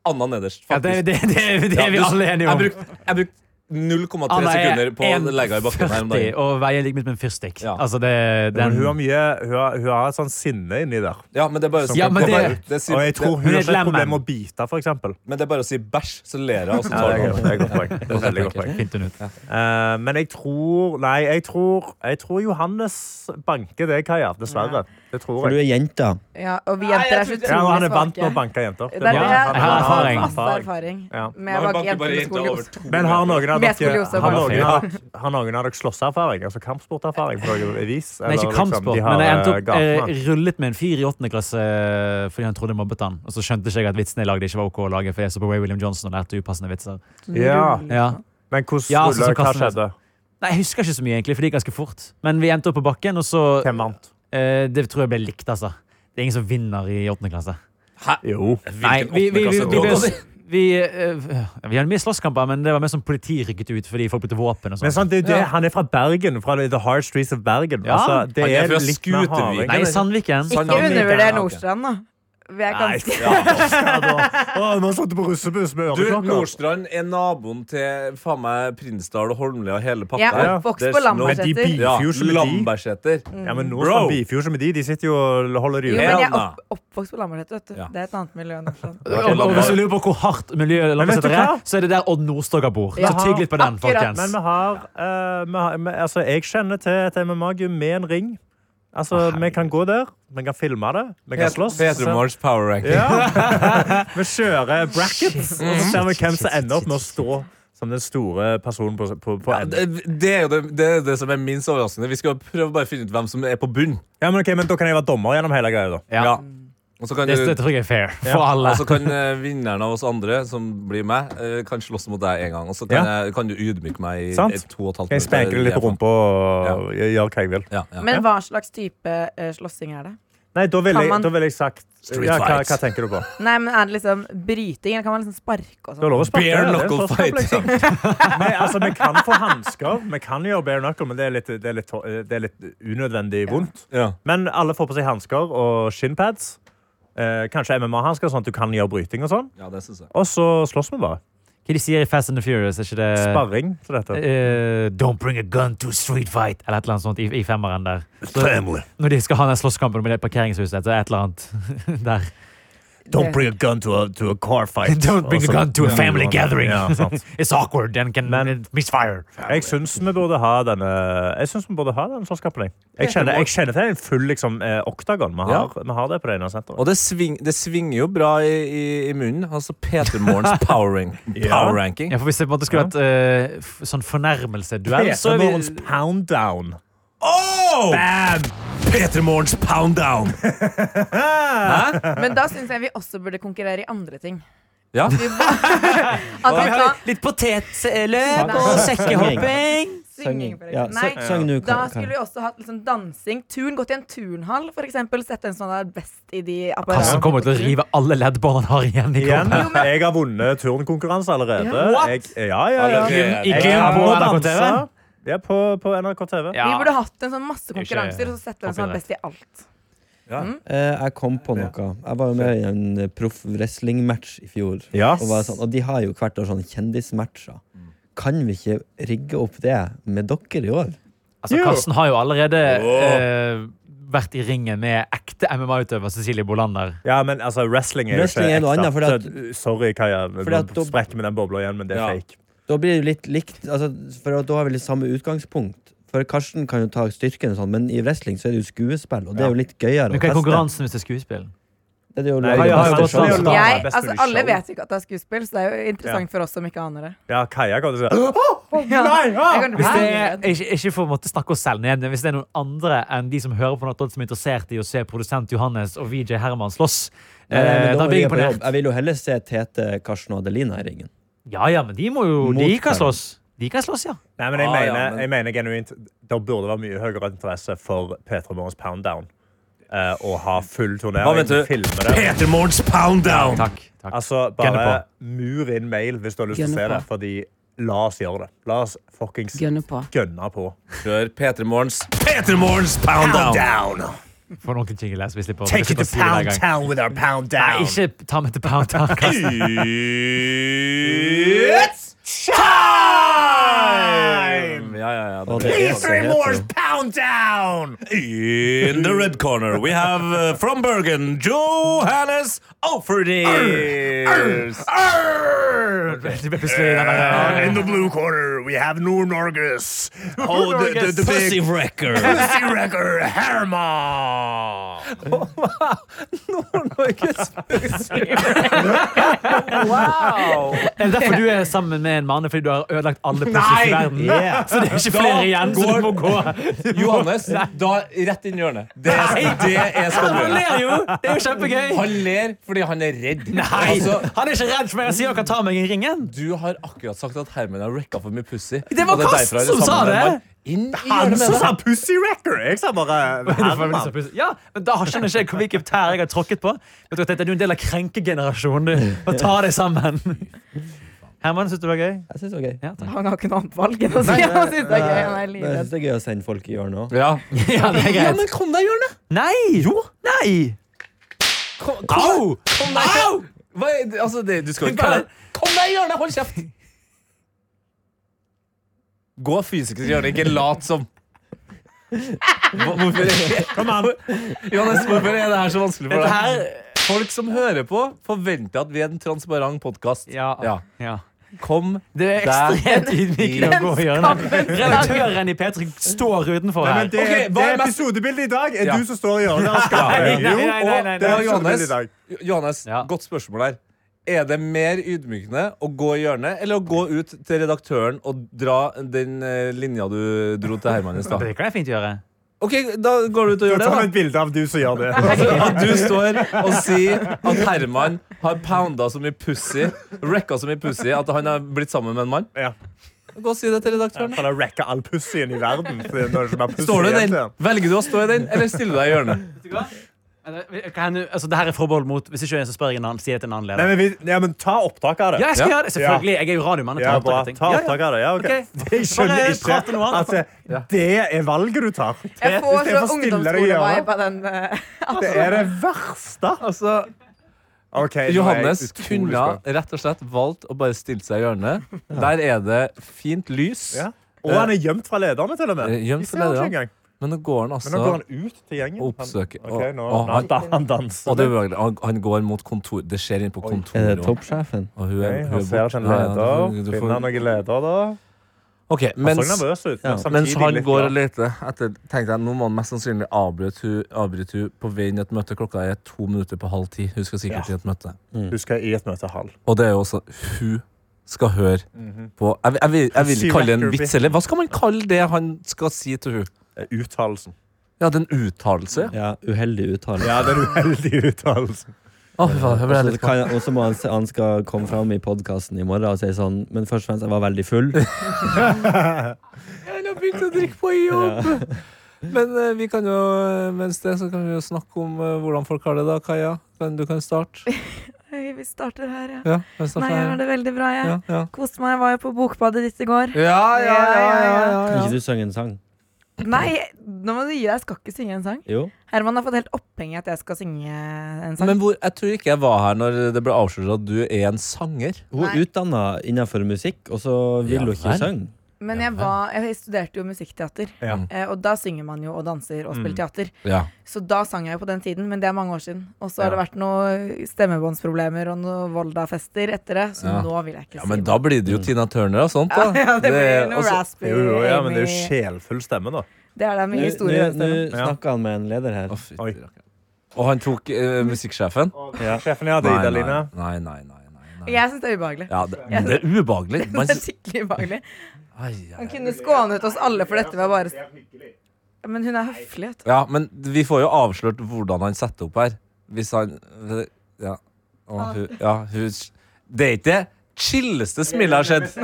[SPEAKER 2] Anna nederst,
[SPEAKER 6] Ja, det,
[SPEAKER 2] faktisk.
[SPEAKER 6] det, det, det,
[SPEAKER 2] Ja,
[SPEAKER 6] er vi
[SPEAKER 2] du-
[SPEAKER 6] alle enige om.
[SPEAKER 2] Jeg brukte jeg brukte 0,3
[SPEAKER 6] Anna er
[SPEAKER 2] sekunder på å legge i bakken her om
[SPEAKER 6] 1,40
[SPEAKER 2] dagen.
[SPEAKER 6] og veier like mye som en fyrstikk.
[SPEAKER 2] Ja.
[SPEAKER 6] Altså, det
[SPEAKER 4] Men
[SPEAKER 6] den,
[SPEAKER 4] hun har mye Hun har, hun har et sånt sinne inni der.
[SPEAKER 2] Ja, men det er bare å si,
[SPEAKER 6] Ja, men
[SPEAKER 2] det, er bare-
[SPEAKER 6] det-
[SPEAKER 2] det, er si-
[SPEAKER 4] Og jeg tror
[SPEAKER 2] det,
[SPEAKER 6] Hun
[SPEAKER 4] hun
[SPEAKER 6] er
[SPEAKER 4] har
[SPEAKER 6] et
[SPEAKER 4] ikke et problem
[SPEAKER 6] lemmem.
[SPEAKER 4] med å bite, for eksempel.
[SPEAKER 2] men det er bare å si bæsj, så ler jeg, og så
[SPEAKER 4] Ja,
[SPEAKER 2] tar
[SPEAKER 4] det er
[SPEAKER 2] jeg
[SPEAKER 4] godt- det er godt poeng. Det er veldig godt poeng.
[SPEAKER 6] Fint hun ut.
[SPEAKER 4] Eh, men jeg tror Nei, jeg tror, jeg tror Johannes banker det, Kaja. Dessverre. Det tror
[SPEAKER 3] For du
[SPEAKER 4] jeg.
[SPEAKER 3] er jente.
[SPEAKER 5] Ja, og vi jenter er så
[SPEAKER 4] Ja, og han er
[SPEAKER 5] utrolig
[SPEAKER 4] vant med å
[SPEAKER 5] svake.
[SPEAKER 4] banke jenter. Det
[SPEAKER 5] Der,
[SPEAKER 4] er
[SPEAKER 5] ja,
[SPEAKER 4] bare-
[SPEAKER 5] jeg
[SPEAKER 6] har
[SPEAKER 5] har
[SPEAKER 6] erfaring.
[SPEAKER 5] masse erfaring
[SPEAKER 4] Ja.
[SPEAKER 5] med å bake jenter med skoliose.
[SPEAKER 4] Men har noen av
[SPEAKER 5] Med
[SPEAKER 4] dere, har
[SPEAKER 5] skoliose, bare.
[SPEAKER 4] noen av, har noen av dere slåsserfaring? Altså kampsporterfaring? på noe vis?
[SPEAKER 6] Nei,
[SPEAKER 4] Eller liksom,
[SPEAKER 6] ikke kampsport,
[SPEAKER 4] de har,
[SPEAKER 6] men jeg endte
[SPEAKER 4] eh,
[SPEAKER 6] opp
[SPEAKER 4] gatene?
[SPEAKER 6] eh, rullet med en fyr i åttende klasse eh, fordi han trodde jeg mobbet han. Og så skjønte ikke jeg at vitsene jeg lagde, ikke var OK å lage, for jeg så på Ray William Johnson og lærte upassende vitser.
[SPEAKER 4] Ja.
[SPEAKER 6] Ja.
[SPEAKER 4] Men hvordan
[SPEAKER 6] Ja, altså, så
[SPEAKER 4] ruller, hva
[SPEAKER 6] kaster-
[SPEAKER 4] skjedde?
[SPEAKER 6] Nei, Jeg husker ikke så mye, egentlig, for det gikk ganske fort. Men vi endte opp på bakken, og så
[SPEAKER 4] Hvem vant?
[SPEAKER 6] eh, Det tror jeg ble likt, altså. Det er ingen som vinner i åttende klasse.
[SPEAKER 4] Jo.
[SPEAKER 6] Nei, vi, vi, vi, vi,
[SPEAKER 2] åttendeklasse
[SPEAKER 6] vi, vi, eh, vi hadde mye slåsskamper, men det var mer som politi rykket ut fordi folk brukte våpen. og sånn.
[SPEAKER 4] Men
[SPEAKER 6] sånt.
[SPEAKER 4] sant, det, er jo det, han er fra Bergen, fra The Hard Streets of Bergen.
[SPEAKER 6] Ja.
[SPEAKER 4] Altså, det
[SPEAKER 2] Han er
[SPEAKER 4] er,
[SPEAKER 2] fra
[SPEAKER 4] litt mer
[SPEAKER 2] Skutevik.
[SPEAKER 4] harding.
[SPEAKER 6] Nei, Sandviken.
[SPEAKER 5] Ikke
[SPEAKER 2] Sandviken.
[SPEAKER 5] undervurder
[SPEAKER 2] Ja, ok.
[SPEAKER 5] Nordstrand, da. Vi er ganske
[SPEAKER 4] Ja, da. Å, nå satt du på russebuss med
[SPEAKER 2] Du,
[SPEAKER 4] øreklokker.
[SPEAKER 2] Nordstrand er naboen til faen meg Prinsdal og Holmlia og hele pakka.
[SPEAKER 5] Jeg er
[SPEAKER 2] her.
[SPEAKER 5] oppvokst
[SPEAKER 2] Det er
[SPEAKER 5] på
[SPEAKER 2] snå-
[SPEAKER 5] Lambertseter.
[SPEAKER 4] Men de biter
[SPEAKER 2] Ja,
[SPEAKER 4] jo ikke med de.
[SPEAKER 2] Lambertseter.
[SPEAKER 4] Ja, men nå
[SPEAKER 2] Bro.
[SPEAKER 4] står Bifjord som med de. De sitter jo og holder de
[SPEAKER 5] Jo,
[SPEAKER 4] ute.
[SPEAKER 5] men jeg er
[SPEAKER 2] Helna.
[SPEAKER 5] opp, oppvokst på Lambertseter, vet du.
[SPEAKER 2] Ja.
[SPEAKER 5] Det er et annet miljø enn Nordstrand.
[SPEAKER 6] Og, og hvis du lurer på hvor hardt miljøet
[SPEAKER 4] Men vet du
[SPEAKER 6] Lambertseter er,
[SPEAKER 4] hva?
[SPEAKER 6] så er det der Odd Nordstoga bor. Så
[SPEAKER 4] Jaha,
[SPEAKER 6] tygg litt på den,
[SPEAKER 5] akkurat.
[SPEAKER 6] folkens.
[SPEAKER 4] Men vi har, eh, vi har vi, Altså, jeg kjenner til et MMA-gym med en ring. Altså, Vi kan gå der, vi kan filme det, vi kan slåss.
[SPEAKER 2] Petromorgens power ranking.
[SPEAKER 4] Ja. vi kjører brackets, og
[SPEAKER 2] Mm-hmm.
[SPEAKER 4] så ser vi hvem som ender opp med å stå som den store personen på, på, på
[SPEAKER 2] Ja,
[SPEAKER 4] enden.
[SPEAKER 2] det, det er jo det, det, er det som er minst overraskende. Vi skal prøve bare å finne ut hvem som er på bunn.
[SPEAKER 4] Ja, men ok, men Da kan jeg være dommer gjennom hele greia. da.
[SPEAKER 6] Ja. Mm.
[SPEAKER 2] Og så kan,
[SPEAKER 6] Det, det
[SPEAKER 2] du,
[SPEAKER 6] tror jeg er fair for alle.
[SPEAKER 2] og så kan eh, vinneren av oss andre, som blir meg, eh, kan slåss mot deg en gang. Og så kan,
[SPEAKER 4] Ja.
[SPEAKER 2] jeg, kan du ydmyke meg i
[SPEAKER 4] Sant.
[SPEAKER 2] et- to og et halvt
[SPEAKER 4] Kan jeg spenke deg litt på rumpa og gjøre hva jeg vil?
[SPEAKER 2] Ja, ja.
[SPEAKER 5] Men hva slags type eh, slåssing er det?
[SPEAKER 4] Nei, Da ville
[SPEAKER 5] Kan
[SPEAKER 4] jeg,
[SPEAKER 5] man-
[SPEAKER 4] da vil jeg sagt
[SPEAKER 2] Street
[SPEAKER 4] ja, hva,
[SPEAKER 2] fights.
[SPEAKER 4] hva tenker du på?
[SPEAKER 5] Nei, men er det liksom bryting, eller kan man liksom sparke
[SPEAKER 4] Du har
[SPEAKER 5] og sånn?
[SPEAKER 4] lov å
[SPEAKER 2] Bare
[SPEAKER 4] sparke. det er en
[SPEAKER 2] knuckle
[SPEAKER 4] slåsskamp,
[SPEAKER 2] fight.
[SPEAKER 4] liksom. Nei, altså, vi kan få hansker, vi kan gjøre bare knuckle, men det er litt, det er litt, det er litt unødvendig vondt.
[SPEAKER 2] Ja.
[SPEAKER 4] Men alle får på seg hansker og skinnpads. Eh, kanskje MMA-hansker, sånn at du kan gjøre bryting og sånn.
[SPEAKER 2] ja, det syns jeg.
[SPEAKER 4] Og så slåss vi bare.
[SPEAKER 6] Hva de sier i Fast and the Furious, er ikke det
[SPEAKER 4] Sparring til dette.
[SPEAKER 6] eh, don't bring a gun to a street fight, eller et eller annet sånt i, i femmeren der. Så, når de skal ha den slåsskampen med det parkeringshuset, så er et eller annet der.
[SPEAKER 5] Don't
[SPEAKER 4] bring a gun to a, car fight.
[SPEAKER 6] Don't bring a gun to a family gathering.
[SPEAKER 4] Ja, sant.
[SPEAKER 6] It's awkward and can misfire.
[SPEAKER 4] Jeg syns vi burde ha denne Jeg synes vi burde ha den slåsskampen. jeg. Jeg kjenner, jeg kjenner til en full liksom, eh, oktagon. Vi har, vi har det på det ene senteret.
[SPEAKER 2] Og det, sving, det svinger jo bra i, i, i munnen. Altså Peter Morgens power, rank,
[SPEAKER 4] Ja.
[SPEAKER 2] power ranking.
[SPEAKER 6] Ja, for hvis det på en måte skulle vært eh, f- sånn fornærmelseduell, så er vi
[SPEAKER 4] Petermorgens pound down.
[SPEAKER 2] Oh!
[SPEAKER 4] Bam!
[SPEAKER 2] Peter Morgens pound down!
[SPEAKER 5] Men da syns jeg vi også burde konkurrere i andre ting.
[SPEAKER 2] Ja.
[SPEAKER 5] At vi tar
[SPEAKER 6] Litt potetløp
[SPEAKER 5] og
[SPEAKER 3] sekkehopping.
[SPEAKER 5] synging, for
[SPEAKER 3] Ja,
[SPEAKER 5] eksempel.
[SPEAKER 3] sø-
[SPEAKER 5] Nei,
[SPEAKER 3] søng nå,
[SPEAKER 5] da
[SPEAKER 3] Kaja.
[SPEAKER 5] skulle vi også hatt liksom dansing. Turn, Gå til en turnhall, for eksempel. Sett en som er best i de
[SPEAKER 6] Karsten kommer til å
[SPEAKER 5] apparatene.
[SPEAKER 6] rive alle leddbånd han har igjen i
[SPEAKER 4] Igjen.
[SPEAKER 6] kroppen.
[SPEAKER 5] Jo, men-
[SPEAKER 4] Jeg har vunnet turnkonkurranse allerede. Jeg, ja, ja, ja.
[SPEAKER 2] Allerede. I
[SPEAKER 4] Jeg
[SPEAKER 6] gym
[SPEAKER 4] har
[SPEAKER 6] på
[SPEAKER 4] vært
[SPEAKER 6] NRK
[SPEAKER 4] og danset.
[SPEAKER 6] TV?
[SPEAKER 4] Ja, på, på NRK TV.
[SPEAKER 3] Mm.
[SPEAKER 5] Vi burde hatt en sånn masse konkurranser,
[SPEAKER 6] Ikke-
[SPEAKER 5] og så sett hvem som er best i alt.
[SPEAKER 6] Mm.
[SPEAKER 3] Eh, jeg kom på noe. Jeg var jo med i en eh, proff wrestlingmatch i fjor.
[SPEAKER 4] Ja.
[SPEAKER 3] Og, var sånn, og de har jo hvert år sånn kjendismatcher.
[SPEAKER 2] Mm.
[SPEAKER 3] Kan vi ikke rigge opp det med dere i år?
[SPEAKER 6] Altså,
[SPEAKER 4] Jo.
[SPEAKER 6] Karsten har jo allerede eh, vært i ringen med ekte MMA-utøver Cecilie Bolander.
[SPEAKER 4] Ja, men altså, wrestling er jo ikke
[SPEAKER 3] Wrestling er noe annet, fordi at-
[SPEAKER 4] Så, uh, Sorry, Kaja.
[SPEAKER 3] Fordi at
[SPEAKER 4] Nå
[SPEAKER 3] da-
[SPEAKER 4] sprekker vi den bobla igjen, men det er
[SPEAKER 2] Ja.
[SPEAKER 4] fake.
[SPEAKER 3] Da blir det jo litt likt, altså, for da har vi litt samme utgangspunkt. For Karsten kan jo ta styrken, og sånn, men i wrestling så er det jo skuespill, og det er jo litt gøyere. å
[SPEAKER 6] Men Hva er
[SPEAKER 3] teste.
[SPEAKER 6] konkurransen hvis det er skuespill?
[SPEAKER 3] Det er det jo laget
[SPEAKER 4] Nei,
[SPEAKER 6] Kaja har jo
[SPEAKER 3] Masterchef.
[SPEAKER 4] gått av.
[SPEAKER 5] Jeg,
[SPEAKER 4] det beste
[SPEAKER 5] altså,
[SPEAKER 4] du
[SPEAKER 5] alle
[SPEAKER 4] show.
[SPEAKER 5] vet jo ikke at det er skuespill, så det er jo interessant for oss som ikke aner det.
[SPEAKER 4] Ja, Kaja kommer til å si «Åh,
[SPEAKER 5] Ja.
[SPEAKER 4] Nei!
[SPEAKER 5] Jeg
[SPEAKER 4] Ah!
[SPEAKER 5] kan-
[SPEAKER 6] Hvis det er,
[SPEAKER 5] Herregud.
[SPEAKER 6] ikke, ikke for å måtte snakke oss selv ned, men hvis det er noen andre enn de som hører på Nattråd, som er interessert i å se produsent Johannes og VJ Herman slåss,
[SPEAKER 3] Nei, nei,
[SPEAKER 6] eh,
[SPEAKER 3] men
[SPEAKER 6] da
[SPEAKER 3] nå er
[SPEAKER 6] blir jeg
[SPEAKER 3] jeg på jobb.
[SPEAKER 6] imponert.
[SPEAKER 3] Jeg vil jo heller se Tete, Karsten og Adelina i ringen.
[SPEAKER 6] Ja, ja, men de må jo
[SPEAKER 3] Mot
[SPEAKER 6] De kan
[SPEAKER 3] hverandre.
[SPEAKER 6] slåss. De kan slåss, ja.
[SPEAKER 4] Nei, men jeg
[SPEAKER 2] Ah, ja,
[SPEAKER 4] mener,
[SPEAKER 2] men-
[SPEAKER 4] jeg mener genuint Det burde være mye høyere interesse for P3 Morgens Pounddown. eh, Å ha full
[SPEAKER 2] Hva
[SPEAKER 4] turnering,
[SPEAKER 2] mente du?
[SPEAKER 4] filme det.
[SPEAKER 2] Petermorens pounddown!
[SPEAKER 6] Takk. takk.
[SPEAKER 4] Altså,
[SPEAKER 6] Gønne
[SPEAKER 4] bare
[SPEAKER 6] på.
[SPEAKER 4] mur inn mail hvis du har lyst til å
[SPEAKER 7] Gønne
[SPEAKER 4] se
[SPEAKER 7] på.
[SPEAKER 4] det. Fordi la oss gjøre det. La oss fuckings
[SPEAKER 7] Gønne på.
[SPEAKER 4] gønne på.
[SPEAKER 2] Kjør Petermorens Petermorens pounddown!
[SPEAKER 6] Får noen jingle her, så vi slipper å
[SPEAKER 4] Take
[SPEAKER 6] slipper
[SPEAKER 4] it
[SPEAKER 6] å
[SPEAKER 4] to
[SPEAKER 6] si det hver
[SPEAKER 4] pound
[SPEAKER 6] gang.
[SPEAKER 4] town with our pound
[SPEAKER 6] Nei,
[SPEAKER 4] down.
[SPEAKER 6] ikke ta meg til Pound Town. Karsten.
[SPEAKER 2] It's time! Ja, ja, ja.
[SPEAKER 3] Og
[SPEAKER 2] det-
[SPEAKER 3] det er så
[SPEAKER 4] P3 Morgens
[SPEAKER 3] hetero.
[SPEAKER 4] pound down!
[SPEAKER 2] In the red corner we have uh, from Bergen, Johannes Alfredis.
[SPEAKER 4] Uh,
[SPEAKER 6] Det ble plutselig den der-
[SPEAKER 4] In the blue corner we have Noor Norges. Oh,
[SPEAKER 6] the- the- the
[SPEAKER 2] Pussy wrecker.
[SPEAKER 4] Pussy wrecker Herma!
[SPEAKER 3] Nord-Norges
[SPEAKER 2] Wow!
[SPEAKER 6] Er det derfor du er sammen med en mann? Fordi du har ødelagt alle pussels i
[SPEAKER 2] Nei!
[SPEAKER 6] verden? Så det er ikke flere
[SPEAKER 2] Da
[SPEAKER 6] igjen, så du
[SPEAKER 2] går-
[SPEAKER 6] må gå.
[SPEAKER 2] Johannes, da rett inn i hjørnet. Det, det er
[SPEAKER 6] Han
[SPEAKER 2] skandale.
[SPEAKER 6] ler jo! Det er jo kjempegøy.
[SPEAKER 2] Han ler fordi han er redd.
[SPEAKER 6] Nei,
[SPEAKER 2] Altså,
[SPEAKER 6] han er ikke redd for meg. Han sier han kan ta meg i ringen.
[SPEAKER 2] du har akkurat sagt at Herman har wrecka for mye pussy.
[SPEAKER 6] Det var
[SPEAKER 2] og er derfor
[SPEAKER 6] Karsten
[SPEAKER 2] han er
[SPEAKER 6] som
[SPEAKER 2] sammen med
[SPEAKER 6] sa det.
[SPEAKER 2] Herman. Inn i
[SPEAKER 4] Han
[SPEAKER 2] hjørnet
[SPEAKER 4] som
[SPEAKER 2] med
[SPEAKER 4] sa
[SPEAKER 2] deg.
[SPEAKER 4] pussy wrecker! Jeg sa bare Herma.
[SPEAKER 6] Ja, men Da skjønner ikke jeg hvor hvilke tær jeg har tråkket på. Vet du, at Dette er jo en del av krenkegenerasjonen. Du må ta deg sammen. Herman, syns du det var gøy?
[SPEAKER 3] Jeg syns det var gøy.
[SPEAKER 6] Ja, takk.
[SPEAKER 5] Han har ikke noe annet valg enn å si at han synes det er gøy. Han er
[SPEAKER 3] Men jeg syns
[SPEAKER 5] livredd.
[SPEAKER 3] det er gøy å sende folk i hjørnet òg.
[SPEAKER 2] Ja.
[SPEAKER 6] Ja, det er
[SPEAKER 2] ja,
[SPEAKER 6] greit.
[SPEAKER 2] men kom deg i hjørnet!
[SPEAKER 6] Nei! Jo! Nei!
[SPEAKER 2] Kom, kom,
[SPEAKER 6] Au!
[SPEAKER 2] kom deg Au! Hva er, det- altså, det, du skal ikke være Kom deg i hjørnet! Hold kjeft! Gå fysisk i hjørnet, ikke lat som. Hva- Hvorfor er, Johannes, hvorfor er det her så vanskelig for
[SPEAKER 6] Dette
[SPEAKER 2] deg?
[SPEAKER 6] her
[SPEAKER 2] Folk som hører på, forventer at vi er en transparent podkast.
[SPEAKER 6] Ja. ja.
[SPEAKER 2] Kom
[SPEAKER 6] Det er
[SPEAKER 2] Der.
[SPEAKER 6] ekstremt ydmykende å gå i hjørnet. Redaktøren i P3 står utenfor
[SPEAKER 4] Nei,
[SPEAKER 6] her.
[SPEAKER 4] men det,
[SPEAKER 2] Ok, hva
[SPEAKER 4] det
[SPEAKER 2] er
[SPEAKER 4] er
[SPEAKER 2] mest-
[SPEAKER 4] episodebildet i dag. Er
[SPEAKER 2] Ja.
[SPEAKER 4] du som står i hjørnet og
[SPEAKER 6] Nei,
[SPEAKER 4] skaper
[SPEAKER 6] nei,
[SPEAKER 4] Jo,
[SPEAKER 6] nei, nei,
[SPEAKER 4] og
[SPEAKER 6] nei,
[SPEAKER 4] det
[SPEAKER 6] nei.
[SPEAKER 4] er episodebildet i
[SPEAKER 2] Johannes.
[SPEAKER 4] dag.
[SPEAKER 2] Johannes,
[SPEAKER 6] Ja.
[SPEAKER 2] godt spørsmål der. Er det mer ydmykende å gå i hjørnet eller å gå ut til redaktøren og dra den eh, linja du dro til Herman i stad?
[SPEAKER 6] Det kan jeg fint gjøre.
[SPEAKER 2] OK, da går du ut og gjør
[SPEAKER 4] Jeg
[SPEAKER 2] det,
[SPEAKER 4] tar
[SPEAKER 2] da.
[SPEAKER 4] et bilde av du som gjør det.
[SPEAKER 2] Altså, at du står og sier at Herman har pounda så mye pussy, wrecka så mye pussy, at han har blitt sammen med en mann.
[SPEAKER 4] Ja.
[SPEAKER 2] Gå og si det til redaktøren. da.
[SPEAKER 4] Han har racka all pussyen i verden. for det er noe som er pussy
[SPEAKER 2] Står du i den?
[SPEAKER 4] igjen.
[SPEAKER 2] Velger du å stå i den, eller stiller du deg i hjørnet?
[SPEAKER 6] Eller, Kan jeg, altså, det her er forbehold mot Hvis ikke jeg er en som spør en annen, sier jeg til en annen
[SPEAKER 4] Nei,
[SPEAKER 6] leder.
[SPEAKER 4] men, vi, ja, men ta opptak av det.
[SPEAKER 6] Ja, jeg skal
[SPEAKER 2] Ja.
[SPEAKER 6] gjøre det, selvfølgelig. Jeg er jo radiomann. jeg
[SPEAKER 4] Ja,
[SPEAKER 6] tar
[SPEAKER 4] bra.
[SPEAKER 6] opptak av ting.
[SPEAKER 4] Ta
[SPEAKER 6] Ja, ja.
[SPEAKER 4] opptak av det. Ja, ok.
[SPEAKER 6] Ok.
[SPEAKER 4] Jeg skjønner
[SPEAKER 6] Bare
[SPEAKER 4] ikke
[SPEAKER 6] prat om noe annet.
[SPEAKER 4] at det, det er valget du tar.
[SPEAKER 5] Jeg
[SPEAKER 4] Hvis
[SPEAKER 5] får
[SPEAKER 4] jeg
[SPEAKER 5] så
[SPEAKER 4] får stille deg i
[SPEAKER 5] ungdomsskolevibe av den. eh,
[SPEAKER 4] Det er det verste.
[SPEAKER 2] Altså,
[SPEAKER 4] Ok, nå er jeg
[SPEAKER 2] Johannes
[SPEAKER 4] utrolig
[SPEAKER 2] kunne
[SPEAKER 4] spent.
[SPEAKER 2] rett og slett valgt å bare stille seg i hjørnet. Der er det fint lys.
[SPEAKER 4] Ja. Og han er gjemt fra lederne, til og med.
[SPEAKER 2] Eh, gjemt
[SPEAKER 4] Vi ser
[SPEAKER 2] fra
[SPEAKER 4] han ikke
[SPEAKER 2] lederne.
[SPEAKER 4] engang.
[SPEAKER 2] Men nå går han
[SPEAKER 4] Men nå
[SPEAKER 2] altså
[SPEAKER 4] går han ut til gjengen.
[SPEAKER 2] og oppsøker
[SPEAKER 4] Han, ok, nå,
[SPEAKER 2] og, og
[SPEAKER 4] han,
[SPEAKER 2] han,
[SPEAKER 4] han danser.
[SPEAKER 2] og det er ubehagelig. Han, han går mot kontor. Det skjer inn på
[SPEAKER 3] Er
[SPEAKER 2] kontoret.
[SPEAKER 3] det toppsjefen?
[SPEAKER 2] og hun
[SPEAKER 4] Ok,
[SPEAKER 2] er- hun er
[SPEAKER 4] han ser
[SPEAKER 2] bort-
[SPEAKER 4] ikke en
[SPEAKER 2] Ja, ja,
[SPEAKER 4] leder.
[SPEAKER 2] du får- du får-
[SPEAKER 4] Finner han noen leder, da?
[SPEAKER 2] Ok,
[SPEAKER 4] Han så
[SPEAKER 2] mens,
[SPEAKER 4] nervøs ut. men samtidig
[SPEAKER 2] mens han
[SPEAKER 4] litt
[SPEAKER 2] går og
[SPEAKER 4] glad.
[SPEAKER 2] leter etter Tenkte jeg, Nå må han mest sannsynlig avbryte hun, avbryte hun på vei inn i et møte. Klokka er to minutter på halv ti. Hun skal sikkert i et møte.
[SPEAKER 4] Husker jeg i et møte halv.
[SPEAKER 2] Og det er jo også Hun skal høre
[SPEAKER 4] Mhm.
[SPEAKER 2] på Jeg, jeg, vil- jeg vil
[SPEAKER 4] Pussy
[SPEAKER 2] ikke kalle det en
[SPEAKER 4] whacker
[SPEAKER 2] vits, eller hva skal man kalle det han skal si til hun?
[SPEAKER 4] Eh, Uttalelsen.
[SPEAKER 2] Ja, det er en uttalelse.
[SPEAKER 3] Ja, uheldig uttale.
[SPEAKER 4] Ja, den uheldige uttalelsen.
[SPEAKER 2] Å, fy faen, jeg ble
[SPEAKER 3] Og så
[SPEAKER 2] litt
[SPEAKER 3] kan jeg- og så må han, han skal komme fram i podkasten i morgen og si sånn Men først og fremst, jeg var veldig full.
[SPEAKER 2] Jeg har begynt å drikke på jobb! Men eh, vi kan jo, eh, mens det, så kan vi jo snakke om eh, hvordan folk har det da, Kaja. Kan, du kan starte.
[SPEAKER 5] Hei, vi starter her, ja.
[SPEAKER 2] Ja, kan starte
[SPEAKER 5] Nei, jeg
[SPEAKER 2] her.
[SPEAKER 5] har det veldig bra, jeg.
[SPEAKER 2] ja, ja.
[SPEAKER 5] Koste meg. Jeg var jo på Bokbadet ditt i går.
[SPEAKER 2] Ja, ja, ja, ja,
[SPEAKER 3] Kan
[SPEAKER 2] ja, ja.
[SPEAKER 3] ikke du synge en sang?
[SPEAKER 5] Nei, nå må du gi deg. Jeg skal ikke synge en sang.
[SPEAKER 3] Jo.
[SPEAKER 5] Herman har fått helt oppheng i at jeg skal synge en sang.
[SPEAKER 2] Men hvor, jeg tror ikke jeg var her når det ble avslørt at du er en sanger.
[SPEAKER 3] Hun er
[SPEAKER 5] Nei.
[SPEAKER 3] utdanna innenfor musikk, og så vil
[SPEAKER 2] Ja
[SPEAKER 3] hun
[SPEAKER 2] vel.
[SPEAKER 3] ikke synge.
[SPEAKER 5] Men jeg, var, jeg studerte jo musikkteater,
[SPEAKER 4] Ja.
[SPEAKER 5] eh, og da synger man jo og danser og spiller teater.
[SPEAKER 2] Ja.
[SPEAKER 5] Så da sang jeg jo på den tiden, men det er mange år siden. Og så har
[SPEAKER 2] Ja.
[SPEAKER 5] det vært noen stemmebåndsproblemer og noen Volda-fester etter det, så
[SPEAKER 2] Ja.
[SPEAKER 5] nå vil jeg ikke
[SPEAKER 2] ja,
[SPEAKER 5] si
[SPEAKER 2] Men
[SPEAKER 5] noe.
[SPEAKER 2] da blir det jo Tina Turner og sånt, da.
[SPEAKER 5] ja, det blir noe
[SPEAKER 2] altså-
[SPEAKER 5] raspy.
[SPEAKER 4] Jo, jo, ja, men det er jo
[SPEAKER 5] Amy.
[SPEAKER 4] sjelfull stemme, da.
[SPEAKER 5] Det er da mye
[SPEAKER 3] Nå
[SPEAKER 5] historier.
[SPEAKER 3] nå- nå snakker han med en leder her.
[SPEAKER 2] Å, fy,
[SPEAKER 4] Oi.
[SPEAKER 2] rakker. Og han tok eh, musikksjefen?
[SPEAKER 4] Sjefen ja, det er
[SPEAKER 2] nei,
[SPEAKER 4] Ida Line.
[SPEAKER 2] nei, nei, nei, nei, nei.
[SPEAKER 5] Jeg syns det er ubehagelig.
[SPEAKER 2] Ja, det, men det er ubehagelig. Man
[SPEAKER 5] Det er
[SPEAKER 2] synes-
[SPEAKER 5] skikkelig ubehagelig.
[SPEAKER 2] Ai, ai,
[SPEAKER 5] Han kunne skånet oss alle for dette var bare Men hun er høflig, vet du.
[SPEAKER 2] Ja, men vi får jo avslørt hvordan han setter opp her. Hvis han eh, Ja. Og hun,
[SPEAKER 5] Ah.
[SPEAKER 2] ja, hun Det er ikke det chilleste smilet jeg har sett.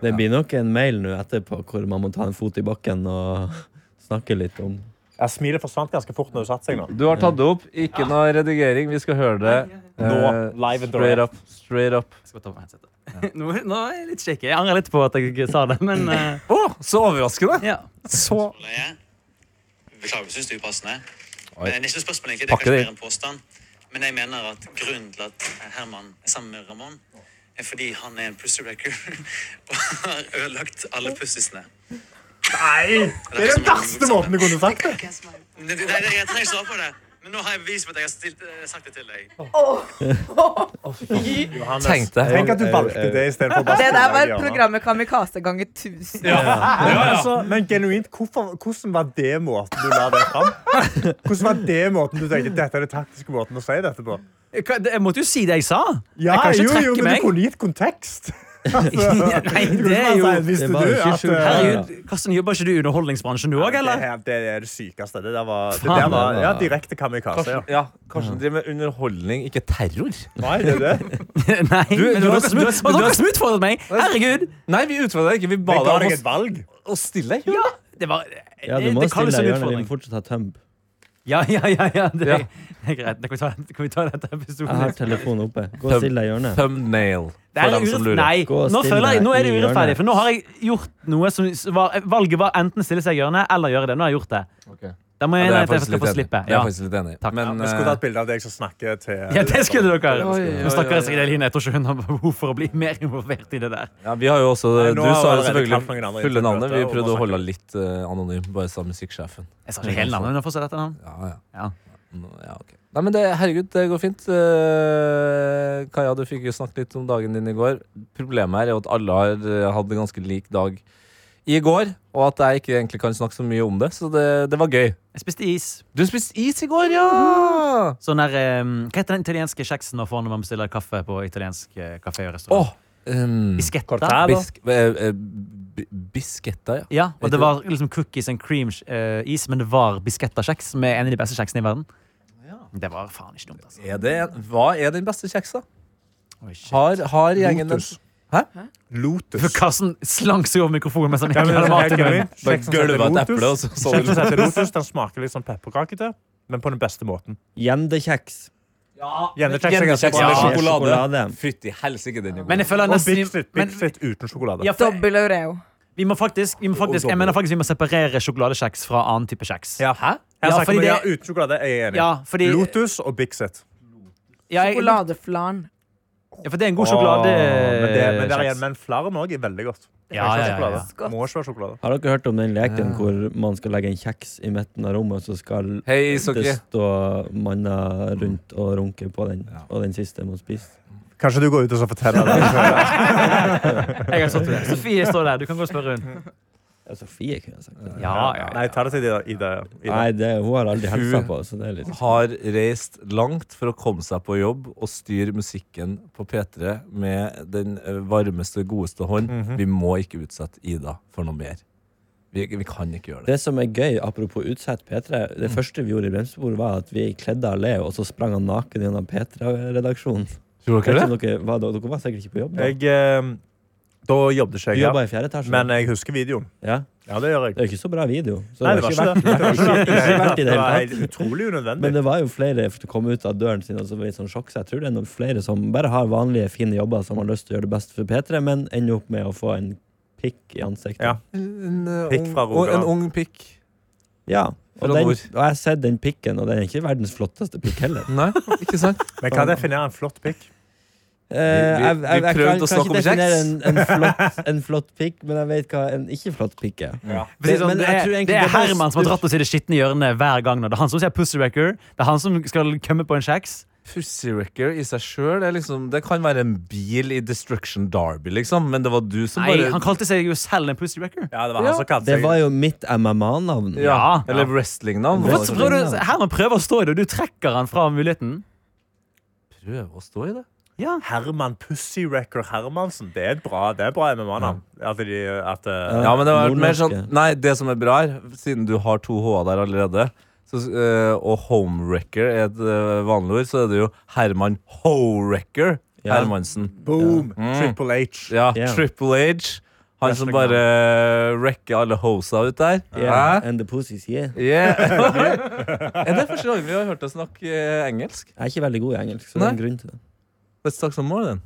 [SPEAKER 3] Det blir nok en mail nå etterpå hvor man må ta en fot i bakken og snakke litt om
[SPEAKER 4] Ja, Smilet forsvant ganske fort når hun satte seg nå.
[SPEAKER 2] Du har tatt det opp. Ikke noe redigering. Vi skal høre det
[SPEAKER 4] Nå,
[SPEAKER 2] eh,
[SPEAKER 4] live and
[SPEAKER 2] straight
[SPEAKER 4] direct.
[SPEAKER 2] up. Straight up.
[SPEAKER 6] Skal bare ta på headsetet. Nå, nå er jeg litt shaky. Jeg angrer litt på at jeg ikke sa det, men eh,
[SPEAKER 2] Å, så overraskende!
[SPEAKER 6] ja.
[SPEAKER 2] Så
[SPEAKER 7] Leie. Beklager hvis du synes det er upassende.
[SPEAKER 2] Oi.
[SPEAKER 7] Men Neste spørsmål er egentlig, det
[SPEAKER 2] Pakke
[SPEAKER 7] er
[SPEAKER 2] det
[SPEAKER 7] kanskje mer en påstand, men jeg mener at grunnen til at Herman er sammen med Ramón, er fordi han er en pussywrecker og har ødelagt alle pussisene.
[SPEAKER 4] Nei! Det er den verste måten du kunne sagt det
[SPEAKER 7] Nei, det- det- jeg trenger ikke svare på det. Men nå har jeg bevis for at jeg har stilt, eh, sagt det til deg.
[SPEAKER 2] Tenk deg.
[SPEAKER 4] Tenk at du valgte det istedenfor
[SPEAKER 5] Det der var programmet Kamikaze ganger 1000.
[SPEAKER 4] Altså, men genuint, hvorfor, hvordan var det måten du la det fram? Hvordan var det måten du tenkte dette er den taktiske måten å si dette på?
[SPEAKER 6] Jeg kan- Jeg måtte jo si det jeg sa. jeg
[SPEAKER 4] Ja,
[SPEAKER 6] kan ikke
[SPEAKER 4] jo, jo,
[SPEAKER 6] trekke
[SPEAKER 4] men
[SPEAKER 6] meg.
[SPEAKER 4] du kunne gitt kontekst. Altså,
[SPEAKER 6] Nei,
[SPEAKER 4] du kunne
[SPEAKER 6] det er
[SPEAKER 4] bare
[SPEAKER 6] jo
[SPEAKER 4] si, Visste
[SPEAKER 3] Det var
[SPEAKER 4] du
[SPEAKER 3] jo ikke
[SPEAKER 4] at
[SPEAKER 3] skjult.
[SPEAKER 4] eh,
[SPEAKER 6] Herregud, Karsten, jobber ikke du i underholdningsbransjen du òg,
[SPEAKER 4] det,
[SPEAKER 6] eller?
[SPEAKER 4] her, det er det sykeste. Det der var, det
[SPEAKER 6] Faen,
[SPEAKER 4] der var
[SPEAKER 3] det var-
[SPEAKER 4] ja, direkte kamikaze. Ja. Mm.
[SPEAKER 2] Karsten, ja, Karsten driver med underholdning, ikke terror.
[SPEAKER 4] Nei, det er det.
[SPEAKER 6] Nei, men
[SPEAKER 2] du
[SPEAKER 6] dere
[SPEAKER 2] har-
[SPEAKER 6] som-
[SPEAKER 2] du har-
[SPEAKER 6] og dere som utfordret meg! Herregud!
[SPEAKER 2] Nei, vi utfordra deg ikke. Vi ba
[SPEAKER 4] Jeg
[SPEAKER 2] deg
[SPEAKER 4] ga
[SPEAKER 2] om
[SPEAKER 4] deg
[SPEAKER 2] å-
[SPEAKER 4] et valg.
[SPEAKER 2] å stille.
[SPEAKER 6] Ja, det var
[SPEAKER 3] Ja, du
[SPEAKER 6] det-
[SPEAKER 3] må
[SPEAKER 6] det
[SPEAKER 3] stille
[SPEAKER 6] kalles en
[SPEAKER 3] deg gjerne. Vi
[SPEAKER 6] utfordring.
[SPEAKER 3] må fortsatt ha tømp.
[SPEAKER 6] Ja, ja, ja, ja det,
[SPEAKER 2] Ja.
[SPEAKER 6] det er greit. Da kan vi ta, kan vi ta dette episoden?
[SPEAKER 3] Jeg har telefonen oppe. Gå og still deg i hjørnet.
[SPEAKER 2] Thumbnail.
[SPEAKER 6] Det
[SPEAKER 2] For
[SPEAKER 6] er
[SPEAKER 2] dem som
[SPEAKER 6] ure-
[SPEAKER 2] lurer.
[SPEAKER 6] Nei,
[SPEAKER 3] Gå og
[SPEAKER 6] nå,
[SPEAKER 3] still
[SPEAKER 6] føler jeg,
[SPEAKER 3] deg
[SPEAKER 6] nå er det
[SPEAKER 3] i
[SPEAKER 6] urettferdig.
[SPEAKER 3] hjørnet.
[SPEAKER 6] For nå har jeg gjort noe som s- var, Valget var enten stille seg i hjørnet eller gjøre det. Nå har jeg gjort det. Da må
[SPEAKER 2] Ja,
[SPEAKER 6] jeg
[SPEAKER 2] det er
[SPEAKER 6] ja,
[SPEAKER 2] jeg faktisk
[SPEAKER 6] få
[SPEAKER 2] litt
[SPEAKER 6] slippe.
[SPEAKER 2] enig i. Det er
[SPEAKER 6] Ja.
[SPEAKER 2] jeg faktisk litt enig i.
[SPEAKER 6] Takk.
[SPEAKER 2] Men, eh,
[SPEAKER 4] Vi skulle tatt bilde av deg som snakker til
[SPEAKER 6] ja, det skulle dere.
[SPEAKER 2] Oi, oi,
[SPEAKER 6] Nå snakker
[SPEAKER 2] oi,
[SPEAKER 6] jeg sikkert Eline jeg tror ikke hun har behov for å bli mer involvert i det der.
[SPEAKER 2] Ja, vi har jo også,
[SPEAKER 4] Nei,
[SPEAKER 2] Du
[SPEAKER 4] nå har
[SPEAKER 2] sa jo
[SPEAKER 4] jeg allerede kalt noen
[SPEAKER 2] selvfølgelig fulle
[SPEAKER 4] andre inn til
[SPEAKER 2] navnet. Vi
[SPEAKER 4] møtet, og
[SPEAKER 2] prøvde å
[SPEAKER 4] bare
[SPEAKER 2] holde litt eh, anonym, bare sa musikksjefen.
[SPEAKER 6] Jeg sa ikke hele navnet, men jeg får se dette navnet.
[SPEAKER 2] Ja, ja.
[SPEAKER 6] Ja.
[SPEAKER 2] Nå- ja ok. Nei, men det, herregud, det går fint. Eh, Kaja, du fikk jo snakket litt om dagen din i går. Problemet her er jo at alle har eh, hatt en ganske lik dag i går, og at jeg ikke egentlig kan snakke så mye om det, så det, det var gøy.
[SPEAKER 6] Jeg spiste is.
[SPEAKER 2] Du spiste is i går, ja!
[SPEAKER 6] Sånn der, eh, hva heter den italienske kjeksen man får når man bestiller kaffe på italiensk eh, kafé og
[SPEAKER 2] Åh!
[SPEAKER 6] restaurant?
[SPEAKER 4] mm.
[SPEAKER 2] ehm,
[SPEAKER 6] Bisketta?
[SPEAKER 2] bisk, eh, eh, bi- bisketta, ja.
[SPEAKER 6] Ja, og det var liksom cookies and cream-is, men det var bisketta-kjeks, som er en av de beste kjeksene i verden. Det var faen ikke dumt, altså.
[SPEAKER 2] Er det, en- hva er den beste kjeksa?
[SPEAKER 6] Oi, shit.
[SPEAKER 2] Har, har gjengen den?
[SPEAKER 4] eh, Lotus.
[SPEAKER 2] Hæ?
[SPEAKER 4] Lotus.
[SPEAKER 6] For Karsten slang seg over mikrofonen mens han
[SPEAKER 4] Ja,
[SPEAKER 6] gikk
[SPEAKER 4] men det
[SPEAKER 6] med sånn
[SPEAKER 4] er
[SPEAKER 6] mat i
[SPEAKER 4] helt
[SPEAKER 6] munnen.
[SPEAKER 4] genuint.
[SPEAKER 2] sånn
[SPEAKER 4] Kjekk som setter
[SPEAKER 2] Gulvet et
[SPEAKER 4] Lotus.
[SPEAKER 2] eple, og så- så-
[SPEAKER 4] Kjekk som setter Lotus, Den smaker litt sånn pepperkakete, men på den beste måten.
[SPEAKER 3] Ah, Gjendekjeks.
[SPEAKER 4] Gjennekjeks er ganske
[SPEAKER 2] Gjennekjeks med
[SPEAKER 4] bra.
[SPEAKER 3] Ja,
[SPEAKER 2] sjokolade.
[SPEAKER 3] sjokolade.
[SPEAKER 2] Fytti helsike, den er god.
[SPEAKER 6] Men jeg føler
[SPEAKER 4] Og
[SPEAKER 6] nesten
[SPEAKER 4] Big Fit,
[SPEAKER 6] men,
[SPEAKER 4] Big Fit uten sjokolade.
[SPEAKER 6] ja, for,
[SPEAKER 5] Dobbel Oreo.
[SPEAKER 6] vi må faktisk, vi må faktisk Jeg mener faktisk vi må separere sjokoladekjeks fra annen type kjeks.
[SPEAKER 4] Ja. Hæ?
[SPEAKER 6] Ja,
[SPEAKER 4] Jeg snakker
[SPEAKER 6] fordi
[SPEAKER 4] om- ja,
[SPEAKER 6] det-
[SPEAKER 4] uten sjokolade jeg er enig.
[SPEAKER 6] Ja, fordi
[SPEAKER 4] Lotus og Big Set.
[SPEAKER 6] ja, jeg, ja,
[SPEAKER 5] Sjokoladeflan.
[SPEAKER 6] for det er en god
[SPEAKER 4] Men, det, men, der igjen,
[SPEAKER 6] sjokoladekjeks.
[SPEAKER 4] men flaren òg er veldig godt. Det
[SPEAKER 6] Ja,
[SPEAKER 4] kan ikke
[SPEAKER 6] ja, ja,
[SPEAKER 4] være
[SPEAKER 6] ja.
[SPEAKER 4] sjokolade.
[SPEAKER 5] Godt.
[SPEAKER 4] Må ikke være sjokolade.
[SPEAKER 3] Har dere hørt om den leken hvor man skal legge en kjeks i midten av rommet, og så skal
[SPEAKER 2] Hei,
[SPEAKER 3] det
[SPEAKER 2] ishockey.
[SPEAKER 3] stå manner rundt og runke på den, og den siste må spise?
[SPEAKER 4] Kanskje du går ut og så forteller det.
[SPEAKER 6] Jeg har stått ved det. Sofie står der. Du kan gå og spørre hun.
[SPEAKER 3] Ja, Sofie kunne jeg sagt det.
[SPEAKER 6] Ja, ja,
[SPEAKER 4] Nei, ta det til Ida. Ida. Ida.
[SPEAKER 3] altså. Nei, det, hun har aldri helsa
[SPEAKER 2] Hun-
[SPEAKER 3] på, så det er litt
[SPEAKER 2] Har reist langt for å komme seg på jobb og styre musikken på P3 med den eh, varmeste, godeste hånd. Vi må ikke utsette Ida for noe mer. Vi, vi kan ikke gjøre det.
[SPEAKER 3] Det som er gøy, apropos utsett P3,
[SPEAKER 4] Mm.
[SPEAKER 3] det første vi gjorde i Bremsebord, var at vi kledde av Leo, og så sprang han naken gjennom P3-redaksjonen.
[SPEAKER 2] Tror
[SPEAKER 3] Dere, dere, var- dere var sikkert ikke på jobb da.
[SPEAKER 4] Jeg, eh, da jobbet ikke
[SPEAKER 3] Du
[SPEAKER 4] jeg
[SPEAKER 3] jobba
[SPEAKER 4] her,
[SPEAKER 3] i fjerde etasje.
[SPEAKER 4] men jeg husker videoen.
[SPEAKER 3] ja.
[SPEAKER 4] Ja, det gjør jeg.
[SPEAKER 3] Det er jo ikke så bra video. Så
[SPEAKER 4] Nei, det
[SPEAKER 3] det har
[SPEAKER 4] var
[SPEAKER 3] ikke
[SPEAKER 4] ikke
[SPEAKER 3] vært,
[SPEAKER 4] det. Det var ikke det.
[SPEAKER 3] vært i det
[SPEAKER 4] Det
[SPEAKER 3] hele
[SPEAKER 4] var
[SPEAKER 3] tatt.
[SPEAKER 4] helt utrolig unødvendig.
[SPEAKER 3] Men det var jo flere som kom ut av døren sin og så ble det sånn sjokk, så jeg tror det er noen flere som bare har vanlige, fine jobber som har lyst til å gjøre det best for P3, men ender opp med å få en pikk i ansiktet.
[SPEAKER 4] Ja.
[SPEAKER 2] En, eh,
[SPEAKER 4] Pikk
[SPEAKER 2] ung-
[SPEAKER 4] fra Rogaland.
[SPEAKER 2] En ung pikk.
[SPEAKER 3] Ja,
[SPEAKER 2] Fra
[SPEAKER 3] Og, den,
[SPEAKER 2] nord.
[SPEAKER 3] og jeg har sett den pikken, og den er ikke verdens flotteste pikk heller.
[SPEAKER 2] Nei, ikke sant?
[SPEAKER 4] Men hva definerer en flott pikk?
[SPEAKER 3] Eh, jeg- jeg-
[SPEAKER 2] vi
[SPEAKER 3] jeg
[SPEAKER 2] prøvde å
[SPEAKER 3] kan- kan
[SPEAKER 2] snakke om
[SPEAKER 3] ikke definere
[SPEAKER 2] sex.
[SPEAKER 3] En, en, flott, en flott pikk, men jeg vet hva en ikke-flott pikk er.
[SPEAKER 6] For å si
[SPEAKER 3] Det-
[SPEAKER 6] sånn,
[SPEAKER 3] men
[SPEAKER 6] det,
[SPEAKER 3] jeg
[SPEAKER 6] er,
[SPEAKER 3] tror egentlig
[SPEAKER 6] det er
[SPEAKER 3] det er
[SPEAKER 6] Herman som har
[SPEAKER 3] bare-
[SPEAKER 6] dratt oss i det skitne hjørnet hver gang. nå. Det er han som sier Pussy Wrecker. Det er han som skal komme på en kjeks.
[SPEAKER 2] Pussy Wrecker i seg sjøl liksom, Det kan være en bil i Destruction Derby, liksom, men det var du som
[SPEAKER 6] Nei,
[SPEAKER 2] bare
[SPEAKER 6] han kalte seg jo selv en Pussy Wrecker.
[SPEAKER 2] Ja, det var han som kalte
[SPEAKER 3] Det
[SPEAKER 2] seg
[SPEAKER 3] var jo mitt MMA-navn.
[SPEAKER 2] ja,
[SPEAKER 6] Ja.
[SPEAKER 2] Eller wrestlingnavn.
[SPEAKER 3] Hva-
[SPEAKER 2] Hva
[SPEAKER 3] så
[SPEAKER 6] Prøv- prøv-
[SPEAKER 3] ringende.
[SPEAKER 6] Herman prøver å stå i det, og du trekker han fra muligheten.
[SPEAKER 2] prøver å stå i det?
[SPEAKER 6] Ja.
[SPEAKER 4] Herman Pussyrecker Hermansen. Det er et bra, det er et bra MMA-navn. At de, at, eh,
[SPEAKER 2] Ja, men det var mer sånn
[SPEAKER 3] Nordnorske.
[SPEAKER 2] Nei, det som er bra her, siden du har to H-er der allerede, så, eh, og homewrecker er et eh, vanlig ord, så er det jo Herman Ho-wrecker
[SPEAKER 3] Ja.
[SPEAKER 2] Hermansen.
[SPEAKER 4] boom! Triple H.
[SPEAKER 2] Ja,
[SPEAKER 3] Ja.
[SPEAKER 2] Triple H. Han som
[SPEAKER 6] Wrestling-navn.
[SPEAKER 2] bare wrecker alle hosa ut der.
[SPEAKER 3] Yeah,
[SPEAKER 2] Hæ?
[SPEAKER 3] and the pussies, yeah.
[SPEAKER 2] Yeah. er det første gang vi har hørt deg snakke eh, engelsk?
[SPEAKER 3] Jeg er ikke veldig god i engelsk, så det er en
[SPEAKER 2] Nei.
[SPEAKER 3] grunn til det.
[SPEAKER 2] Let's talk some more, then.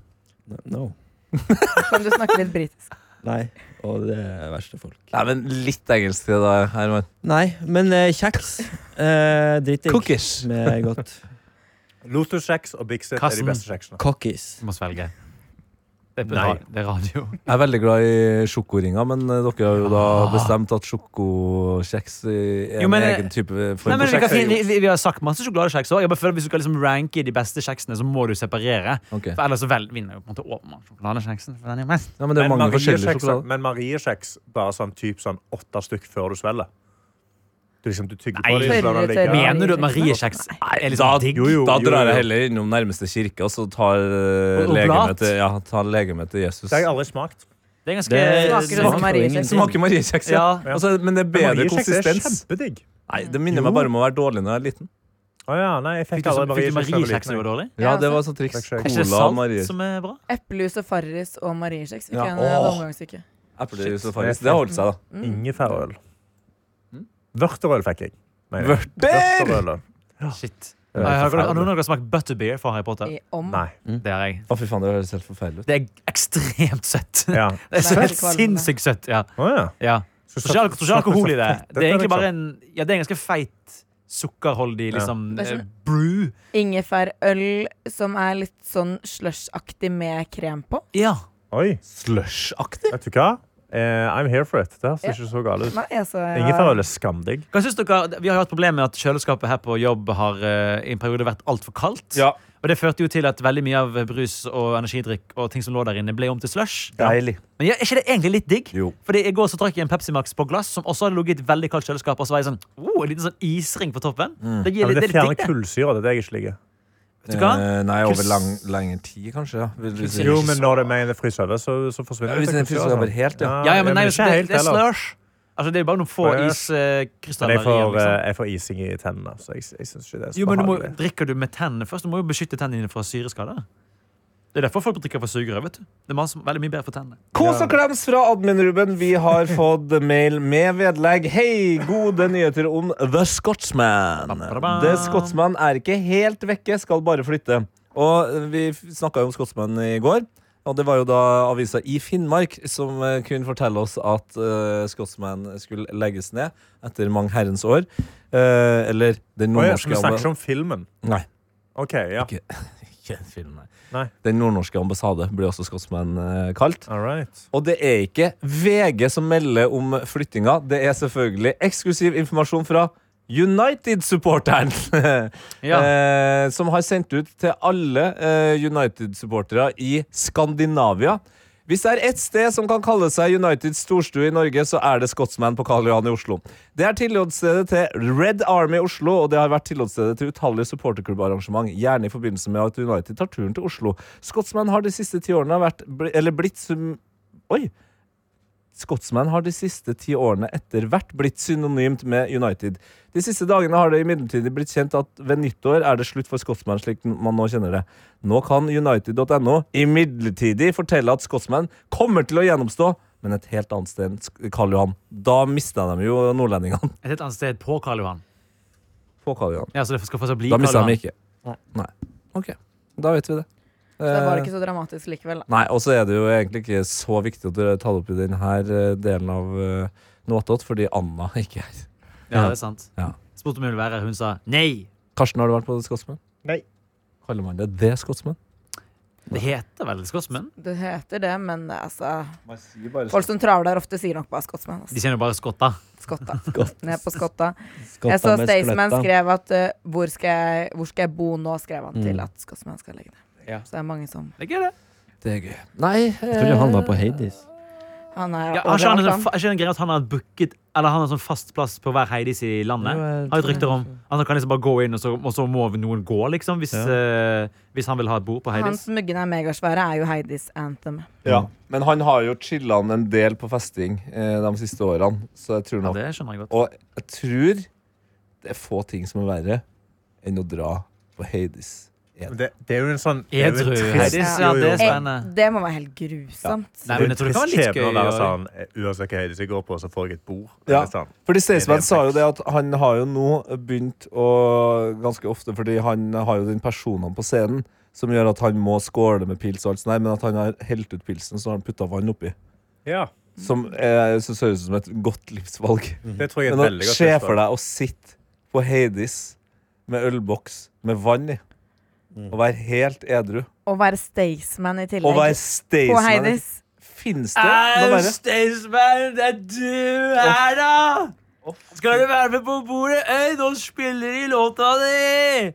[SPEAKER 3] No.
[SPEAKER 5] Kan du snakke litt britisk?
[SPEAKER 3] Nei. Og det er verste folk.
[SPEAKER 2] Nei, men litt engelsk til deg, Herman.
[SPEAKER 3] Nei, men eh, kjeks. Eh, Dritdigg.
[SPEAKER 2] Cookies.
[SPEAKER 3] Med godt.
[SPEAKER 4] Lotus-kjeks og Big Set er de
[SPEAKER 6] Kassen.
[SPEAKER 4] beste kjeksene.
[SPEAKER 3] Cockies.
[SPEAKER 6] Du må svelge. Det er, på
[SPEAKER 4] Nei.
[SPEAKER 6] ra- det er radio.
[SPEAKER 2] Jeg er veldig glad i sjokoringer, men eh, dere har jo da bestemt at sjokokjeks eh, er
[SPEAKER 6] Jo, men,
[SPEAKER 2] en
[SPEAKER 6] eh,
[SPEAKER 2] egen type
[SPEAKER 6] Nei,
[SPEAKER 2] form
[SPEAKER 6] men
[SPEAKER 2] for
[SPEAKER 6] vi, kan,
[SPEAKER 2] kjeks.
[SPEAKER 6] finne- vi, vi har sagt masse sjokoladekjeks òg. Hvis du skal liksom ranke de beste kjeksene, så må du separere.
[SPEAKER 2] Ok.
[SPEAKER 6] For ellers så vel, vinner jo på en måte over med sjokoladekjeksen. For den er jo mest.
[SPEAKER 2] Ja, men det er
[SPEAKER 4] Men
[SPEAKER 2] mange forskjellige
[SPEAKER 4] Marie-kjeks
[SPEAKER 2] sjokolader.
[SPEAKER 4] men Marie-kjeks, bare sånn typ sånn åtte stykk før du svelger. Du liksom, du tygger
[SPEAKER 6] Nei.
[SPEAKER 4] på dem. så lar de
[SPEAKER 5] Tørre,
[SPEAKER 4] ligge.
[SPEAKER 5] tørre.
[SPEAKER 6] Mener du at Mariekjeks er liksom digg?
[SPEAKER 4] jo, jo,
[SPEAKER 2] Da
[SPEAKER 4] jo,
[SPEAKER 2] drar
[SPEAKER 4] jo.
[SPEAKER 2] jeg heller innom nærmeste kirke, og så tar eh,
[SPEAKER 6] Og- og blat.
[SPEAKER 2] legemet til, ja, tar legemet til Jesus.
[SPEAKER 4] Det har jeg aldri smakt.
[SPEAKER 6] Det er ganske
[SPEAKER 3] Det
[SPEAKER 5] Smaker det
[SPEAKER 3] smaker
[SPEAKER 5] som
[SPEAKER 3] jo
[SPEAKER 5] Marie-kjeks?
[SPEAKER 3] ingenting.
[SPEAKER 2] Smaker mariekjeks, ja.
[SPEAKER 6] Ja.
[SPEAKER 2] Altså, men det er bedre
[SPEAKER 4] Marie-kjeks er
[SPEAKER 2] konsistens.
[SPEAKER 4] kjempedigg.
[SPEAKER 2] Nei, Det minner meg bare om å være dårlig når jeg er liten.
[SPEAKER 4] Å ja, nei, jeg fikk
[SPEAKER 6] Fikk du
[SPEAKER 4] aldri
[SPEAKER 6] sånn- fikk du
[SPEAKER 4] Marie-kjeks. da jeg var
[SPEAKER 6] Mariekjeks når du
[SPEAKER 4] liten.
[SPEAKER 6] var dårlig?
[SPEAKER 2] Ja,
[SPEAKER 5] Ja,
[SPEAKER 2] det
[SPEAKER 5] altså.
[SPEAKER 2] var sånn triks.
[SPEAKER 4] Er
[SPEAKER 6] Kanskje det er
[SPEAKER 2] Cola og
[SPEAKER 6] salt
[SPEAKER 2] mariekjeks.
[SPEAKER 6] som er bra?
[SPEAKER 5] Eplejus og Farris og mariekjeks fikk
[SPEAKER 2] Ja,
[SPEAKER 5] jeg en
[SPEAKER 2] åh.
[SPEAKER 5] omgangsstykke.
[SPEAKER 2] Eplejus og farris. Det holdt seg, da.
[SPEAKER 4] Ingefærøl. Vørterøl fikk jeg. Nei,
[SPEAKER 2] Vørter!
[SPEAKER 4] Vørterøl, da.
[SPEAKER 6] Shit. Nei,
[SPEAKER 4] er
[SPEAKER 6] Har dere- har
[SPEAKER 4] forferdelig. Mm.
[SPEAKER 6] noen av dere smakt butterbeer fra Harry Potter?
[SPEAKER 5] I om.
[SPEAKER 4] Nei.
[SPEAKER 6] Det har jeg.
[SPEAKER 2] Å, fy faen, det høres helt forferdelig ut.
[SPEAKER 6] Det er ekstremt søtt.
[SPEAKER 4] Ja.
[SPEAKER 6] Det er så
[SPEAKER 5] Det er
[SPEAKER 6] helt
[SPEAKER 5] helt
[SPEAKER 6] sinnssykt søtt. Ja.
[SPEAKER 4] Å ja.
[SPEAKER 6] ja.
[SPEAKER 4] Så
[SPEAKER 6] Tror ikke alko- tror ikke alkohol i det. Det er egentlig bare
[SPEAKER 4] liksom.
[SPEAKER 6] en, ja, det er en ganske feit, sukkerholdig liksom,
[SPEAKER 5] Det er sånn-
[SPEAKER 6] eh, brew.
[SPEAKER 5] Ingefærøl som er litt sånn slushaktig med krem på.
[SPEAKER 6] Ja.
[SPEAKER 4] Oi.
[SPEAKER 2] Slush-aktig.
[SPEAKER 4] Vet du hva? Eh, I'm here for it. Det her ser
[SPEAKER 5] Ja.
[SPEAKER 4] ikke så galt ut.
[SPEAKER 5] Nei, altså, ja.
[SPEAKER 4] Ingefærøl er skamdigg.
[SPEAKER 6] Hva synes dere? Vi har jo hatt problemer med at kjøleskapet her på jobb har eh, i en periode vært altfor kaldt.
[SPEAKER 2] Ja.
[SPEAKER 6] Og det førte jo til at veldig mye av brus og energidrikk og ting som lå der inne, ble om til slush.
[SPEAKER 2] Deilig.
[SPEAKER 6] Men ja, er ikke det egentlig litt digg?
[SPEAKER 2] Jo.
[SPEAKER 6] Fordi I går så drakk jeg en Pepsi Max på glass, som også hadde ligget i et veldig kaldt kjøleskap. Og så var jeg sånn, oh, en liten sånn isring på toppen. Det,
[SPEAKER 4] Mm. Ja,
[SPEAKER 6] gir,
[SPEAKER 4] men
[SPEAKER 6] litt-
[SPEAKER 4] det
[SPEAKER 6] det, er
[SPEAKER 4] fjerner
[SPEAKER 6] litt digg, det.
[SPEAKER 4] kullsyra. Det er det jeg ikke liker.
[SPEAKER 6] Vet du hva?
[SPEAKER 2] Eh, nei, over
[SPEAKER 6] Kuls-
[SPEAKER 2] lang, lengre tid, kanskje. Ja. Vil du si.
[SPEAKER 4] Jo, men når det er med en fryser over, så, så
[SPEAKER 2] Ja,
[SPEAKER 4] forsvinner
[SPEAKER 2] hvis den fryser over helt, ja.
[SPEAKER 6] Ja, ja, men nei,
[SPEAKER 4] ikke
[SPEAKER 6] det,
[SPEAKER 4] helt
[SPEAKER 6] det er
[SPEAKER 4] heller.
[SPEAKER 6] slush. Altså, det er bare noen få
[SPEAKER 4] Slush. Men
[SPEAKER 6] iskrystaller
[SPEAKER 4] jeg får,
[SPEAKER 6] igjen. Liksom.
[SPEAKER 4] eh, jeg får ising i tennene, så jeg, jeg syns ikke det er så
[SPEAKER 6] Jo, men du må,
[SPEAKER 4] behagelig.
[SPEAKER 6] drikker du med tennene først? Du må jo beskytte tennene dine fra syreskader. Det er derfor folk drikker fra sugerør. vet du. Det er masse, veldig mye bedre for tennene.
[SPEAKER 2] Kos og klems fra admin-Ruben. Vi har fått mail med vedlegg. Hei, gode nyheter om The Scotsman. The Scotsman er ikke helt vekke, skal bare flytte. Og eh, vi snakka jo om Scotsman i går. Og det var jo da avisa i Finnmark som eh, kunne fortelle oss at uh, Scotsman skulle legges ned etter mange herrens år. Eh, eller den
[SPEAKER 4] Å ja,
[SPEAKER 2] nordnorske
[SPEAKER 4] Vi snakker ikke om filmen.
[SPEAKER 2] Nei.
[SPEAKER 4] OK, ja.
[SPEAKER 2] Ikke- Ikke en film, nei.
[SPEAKER 4] Nei.
[SPEAKER 2] Den nordnorske ambassade blir også Scotsman eh, kalt.
[SPEAKER 4] All right.
[SPEAKER 2] Og det er ikke VG som melder om flyttinga. Det er selvfølgelig eksklusiv informasjon fra United-supporteren.
[SPEAKER 6] Ja.
[SPEAKER 2] eh, som har sendt ut til alle eh, United-supportere i Skandinavia. Hvis det er ett sted som kan kalle seg Uniteds storstue i Norge, så er det Scotsman på Karl Johan i Oslo. Det er tilholdsstedet til Red Army i Oslo, og det har vært tilholdsstedet til utallige supporterklubbarrangement, gjerne i forbindelse med at United tar turen til Oslo. Scotsman har de siste ti årene vært, bli- eller blitt sum- Oi! Scotsman har de siste ti årene etter hvert blitt synonymt med United. De siste dagene har det imidlertid blitt kjent at ved nyttår er det slutt for Scotsman slik man nå kjenner det. Nå kan United.no imidlertidig fortelle at Scotsman kommer til å gjennomstå, men et helt annet sted enn Sk- Karl Johan. Da mista de jo nordlendingene
[SPEAKER 6] Et helt annet sted på Karl Johan.
[SPEAKER 2] på Karl Johan.
[SPEAKER 6] Ja, så det skal fortsatt bli
[SPEAKER 2] Da
[SPEAKER 6] Karl
[SPEAKER 2] mista de
[SPEAKER 6] Johan.
[SPEAKER 2] ikke. Nei. Ok, da vet vi det.
[SPEAKER 5] Så det
[SPEAKER 2] Eh.
[SPEAKER 5] var ikke så dramatisk likevel. Da.
[SPEAKER 2] Nei, og så er det jo egentlig ikke så viktig å ta det opp i denne delen av uh, Noatot, fordi Anna ikke er her.
[SPEAKER 6] Ja, det er sant.
[SPEAKER 2] Ja.
[SPEAKER 6] Spurte om hun ville være her. Hun sa nei.
[SPEAKER 2] Karsten, har du vært på The Scotsman?
[SPEAKER 4] Nei.
[SPEAKER 2] Kaller man det The Scotsman?
[SPEAKER 6] Det heter vel Scotsman?
[SPEAKER 5] Det heter det, men eh, altså
[SPEAKER 2] Man sier bare
[SPEAKER 5] Folk som travler ofte, sier nok bare Scotsman.
[SPEAKER 6] De
[SPEAKER 5] Altså.
[SPEAKER 6] kjenner jo bare skotta.
[SPEAKER 5] Skotta.
[SPEAKER 3] Godt.
[SPEAKER 5] Ned på Skotta.
[SPEAKER 3] Skotta
[SPEAKER 5] jeg så
[SPEAKER 3] med
[SPEAKER 5] Staysman
[SPEAKER 3] skletta.
[SPEAKER 5] skrev at eh, hvor, skal jeg, 'Hvor skal jeg bo nå?' skrev han til at Scotsman skal legge ned.
[SPEAKER 2] Ja.
[SPEAKER 5] Så det er mange som
[SPEAKER 6] Det er gøy, det.
[SPEAKER 2] Det er gøy. Nei eh,
[SPEAKER 3] Jeg trodde han var på Hades.
[SPEAKER 5] Han er
[SPEAKER 6] Ja, har ikke han,
[SPEAKER 5] overalt,
[SPEAKER 6] en- sånn er ikke det en greie at han har booket Eller han har sånn fast plass på hver Heidis i landet?
[SPEAKER 3] Jo, jeg
[SPEAKER 6] Har et
[SPEAKER 3] tror
[SPEAKER 6] rykter om at han kan liksom bare gå inn, og så, og så må noen gå, liksom, hvis,
[SPEAKER 3] Ja.
[SPEAKER 6] eh, hvis han vil ha et bord på
[SPEAKER 5] han.
[SPEAKER 6] Heidis.
[SPEAKER 5] Hans muggene er megasvære, er jo Heidis anthem.
[SPEAKER 2] Ja, Mm. men han har jo chilla'n en del på festing eh, de siste årene, så jeg tror
[SPEAKER 6] Ja,
[SPEAKER 2] nok
[SPEAKER 6] det skjønner jeg godt.
[SPEAKER 2] Og jeg tror det er få ting som er verre enn å dra på Hades.
[SPEAKER 4] Men Det, det er jo en sånn det er jo en
[SPEAKER 6] Edru
[SPEAKER 4] trist-
[SPEAKER 6] Heidis, ja,
[SPEAKER 4] jo, jo,
[SPEAKER 6] det er
[SPEAKER 4] men-
[SPEAKER 6] spennende.
[SPEAKER 5] Eh, Det må være helt grusomt.
[SPEAKER 6] Nei, men jeg tror det kan være litt
[SPEAKER 4] trist skjebne å
[SPEAKER 6] gøy.
[SPEAKER 4] være
[SPEAKER 6] å-
[SPEAKER 4] sånn, Uansett hva Heidis jeg går på, så får jeg et bord.
[SPEAKER 2] Ja.
[SPEAKER 4] Det er sånn.
[SPEAKER 2] Fordi Staysman
[SPEAKER 4] Det er det
[SPEAKER 2] sa jo
[SPEAKER 4] faktisk.
[SPEAKER 2] det at han har jo nå begynt å Ganske ofte fordi han har jo den personen på scenen som gjør at han må skåle med pils og alt sånt, der, men at han har helt ut pilsen, så har han putta vann oppi.
[SPEAKER 4] Ja,
[SPEAKER 2] Som eh, jeg synes høres ut som et godt livsvalg.
[SPEAKER 4] det tror jeg er et
[SPEAKER 2] Men
[SPEAKER 4] veldig
[SPEAKER 2] å
[SPEAKER 4] godt
[SPEAKER 2] se
[SPEAKER 4] tips, da.
[SPEAKER 2] for deg å sitte på Hades med ølboks med vann i, og være helt edru,
[SPEAKER 5] Å være Staysman i tillegg.
[SPEAKER 2] og være
[SPEAKER 5] på
[SPEAKER 2] Staysman
[SPEAKER 5] Heidis.
[SPEAKER 2] Fins det noe verre?
[SPEAKER 6] Staysman, det er du her, da! Skal du være med på bordet? Øy, nå spiller de låta di!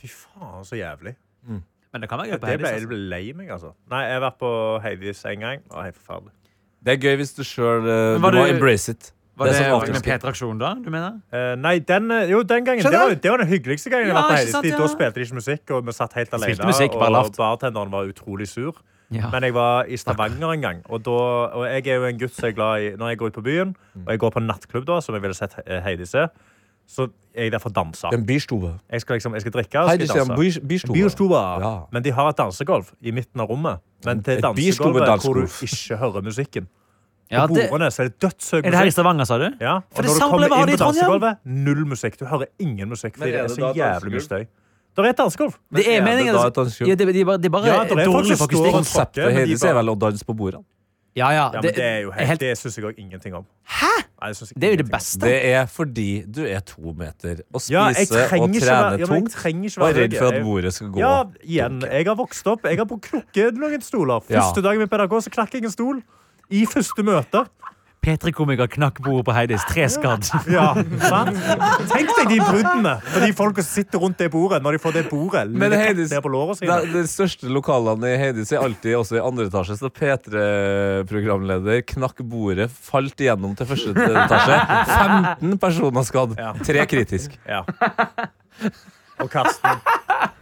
[SPEAKER 4] Fy faen, så jævlig.
[SPEAKER 6] Men det kan være gøy
[SPEAKER 4] Det
[SPEAKER 6] på
[SPEAKER 4] ble,
[SPEAKER 6] Heidis.
[SPEAKER 4] det
[SPEAKER 6] Altså.
[SPEAKER 4] ble lei meg, altså. Nei, jeg har vært på Heidis en gang. Det var helt forferdelig.
[SPEAKER 2] Det er gøy hvis du sjøl
[SPEAKER 6] Men
[SPEAKER 2] Du
[SPEAKER 6] var
[SPEAKER 2] må
[SPEAKER 6] du-
[SPEAKER 2] embrace it.
[SPEAKER 6] Var det,
[SPEAKER 2] det er sånn
[SPEAKER 6] med
[SPEAKER 2] afterski.
[SPEAKER 6] P-traksjon, da? du mener?
[SPEAKER 4] Eh, nei, den, eh, jo, den gangen, det
[SPEAKER 2] Skjønner
[SPEAKER 4] var,
[SPEAKER 2] du?
[SPEAKER 4] det var den hyggeligste gangen
[SPEAKER 6] Ja,
[SPEAKER 4] jeg var på
[SPEAKER 6] ikke
[SPEAKER 4] Heidis.
[SPEAKER 6] sant,
[SPEAKER 4] De-
[SPEAKER 6] ja.
[SPEAKER 4] Da spilte de ikke musikk, og vi satt helt alene.
[SPEAKER 6] Spilte musikk, bare
[SPEAKER 4] og
[SPEAKER 6] lavt.
[SPEAKER 4] bartenderen var utrolig sur.
[SPEAKER 6] Ja.
[SPEAKER 4] Men jeg var i Stavanger en gang, og, da, og jeg er jo en gutt som er glad i Når jeg går ut på byen, og jeg går på en nattklubb, da, som jeg ville sett eh, Heidis er, så er jeg der for å danse.
[SPEAKER 2] En bistube.
[SPEAKER 4] Jeg skal, liksom, jeg skal drikke og
[SPEAKER 2] Heidis
[SPEAKER 4] skal
[SPEAKER 2] er en
[SPEAKER 4] danse.
[SPEAKER 2] bis- bistube.
[SPEAKER 4] Biostoa.
[SPEAKER 2] Ja.
[SPEAKER 4] Men de har et dansegolv i midten av rommet. Men til
[SPEAKER 2] Et
[SPEAKER 4] dansegolvet
[SPEAKER 2] bistobedalsgolv.
[SPEAKER 4] hvor du ikke hører musikken.
[SPEAKER 6] Ja,
[SPEAKER 4] på
[SPEAKER 6] det,
[SPEAKER 4] bordene så er det dødshøy
[SPEAKER 6] er det her i
[SPEAKER 4] musikk.
[SPEAKER 6] Stavanger, sa du?
[SPEAKER 4] Ja,
[SPEAKER 6] For det
[SPEAKER 4] og når du
[SPEAKER 6] samme
[SPEAKER 4] kommer
[SPEAKER 6] problemet har
[SPEAKER 4] inn
[SPEAKER 6] de i
[SPEAKER 4] på
[SPEAKER 6] Trondheim.
[SPEAKER 4] dansegolvet, null musikk. Du hører ingen musikk,
[SPEAKER 2] Men
[SPEAKER 4] fordi det
[SPEAKER 2] er
[SPEAKER 4] er
[SPEAKER 2] det da
[SPEAKER 4] så jævlig mye
[SPEAKER 2] dansegulv?
[SPEAKER 4] støy. Det er et dansegolv.
[SPEAKER 6] Det er meningen.
[SPEAKER 2] da et
[SPEAKER 6] altså.
[SPEAKER 2] dansegulv?
[SPEAKER 6] Ja, det, de er bare, det er bare
[SPEAKER 4] Ja, det er folk
[SPEAKER 6] dårlig
[SPEAKER 4] som står
[SPEAKER 6] faktisk.
[SPEAKER 4] og
[SPEAKER 2] Konseptet
[SPEAKER 4] tråkker, men de
[SPEAKER 2] Hades er
[SPEAKER 4] bare-
[SPEAKER 2] vel å danse på bordene.
[SPEAKER 6] Ja, ja.
[SPEAKER 4] Ja, men
[SPEAKER 6] Det,
[SPEAKER 4] det er jo
[SPEAKER 6] er
[SPEAKER 4] helt,
[SPEAKER 6] helt,
[SPEAKER 4] det syns jeg òg ingenting om.
[SPEAKER 6] Hæ?
[SPEAKER 4] Nei, det, synes jeg
[SPEAKER 6] det er jo det
[SPEAKER 4] ingenting om.
[SPEAKER 6] beste.
[SPEAKER 2] Det er fordi du er to meter og
[SPEAKER 4] Ja, jeg
[SPEAKER 2] spiser
[SPEAKER 4] trenger
[SPEAKER 2] og
[SPEAKER 4] ikke
[SPEAKER 2] trener
[SPEAKER 4] være- ja, men jeg
[SPEAKER 2] tungt
[SPEAKER 4] trenger ikke
[SPEAKER 2] og er
[SPEAKER 4] være
[SPEAKER 2] redd for
[SPEAKER 4] høy.
[SPEAKER 2] at bordet skal gå.
[SPEAKER 4] Ja, igjen. Jeg har vokst opp. Jeg har på knukket noen stoler. Første dagen min på NRK så knakk jeg en stol. I første møte.
[SPEAKER 6] P3-komiker knakk bordet på Heidis. Tre skadd.
[SPEAKER 4] Ja, sant? Tenk deg de bruddene for de folka som sitter rundt det bordet, når de får det bordet
[SPEAKER 2] Men
[SPEAKER 4] litt
[SPEAKER 2] Heidis-
[SPEAKER 4] ned på låret
[SPEAKER 2] Da,
[SPEAKER 4] sine.
[SPEAKER 2] de største lokalene i Hades er alltid også i andre etasje. Så P3-programleder knakk bordet, falt igjennom til første etasje. 15 personer skadd.
[SPEAKER 4] Ja.
[SPEAKER 2] Tre kritisk.
[SPEAKER 4] Ja. Og Karsten.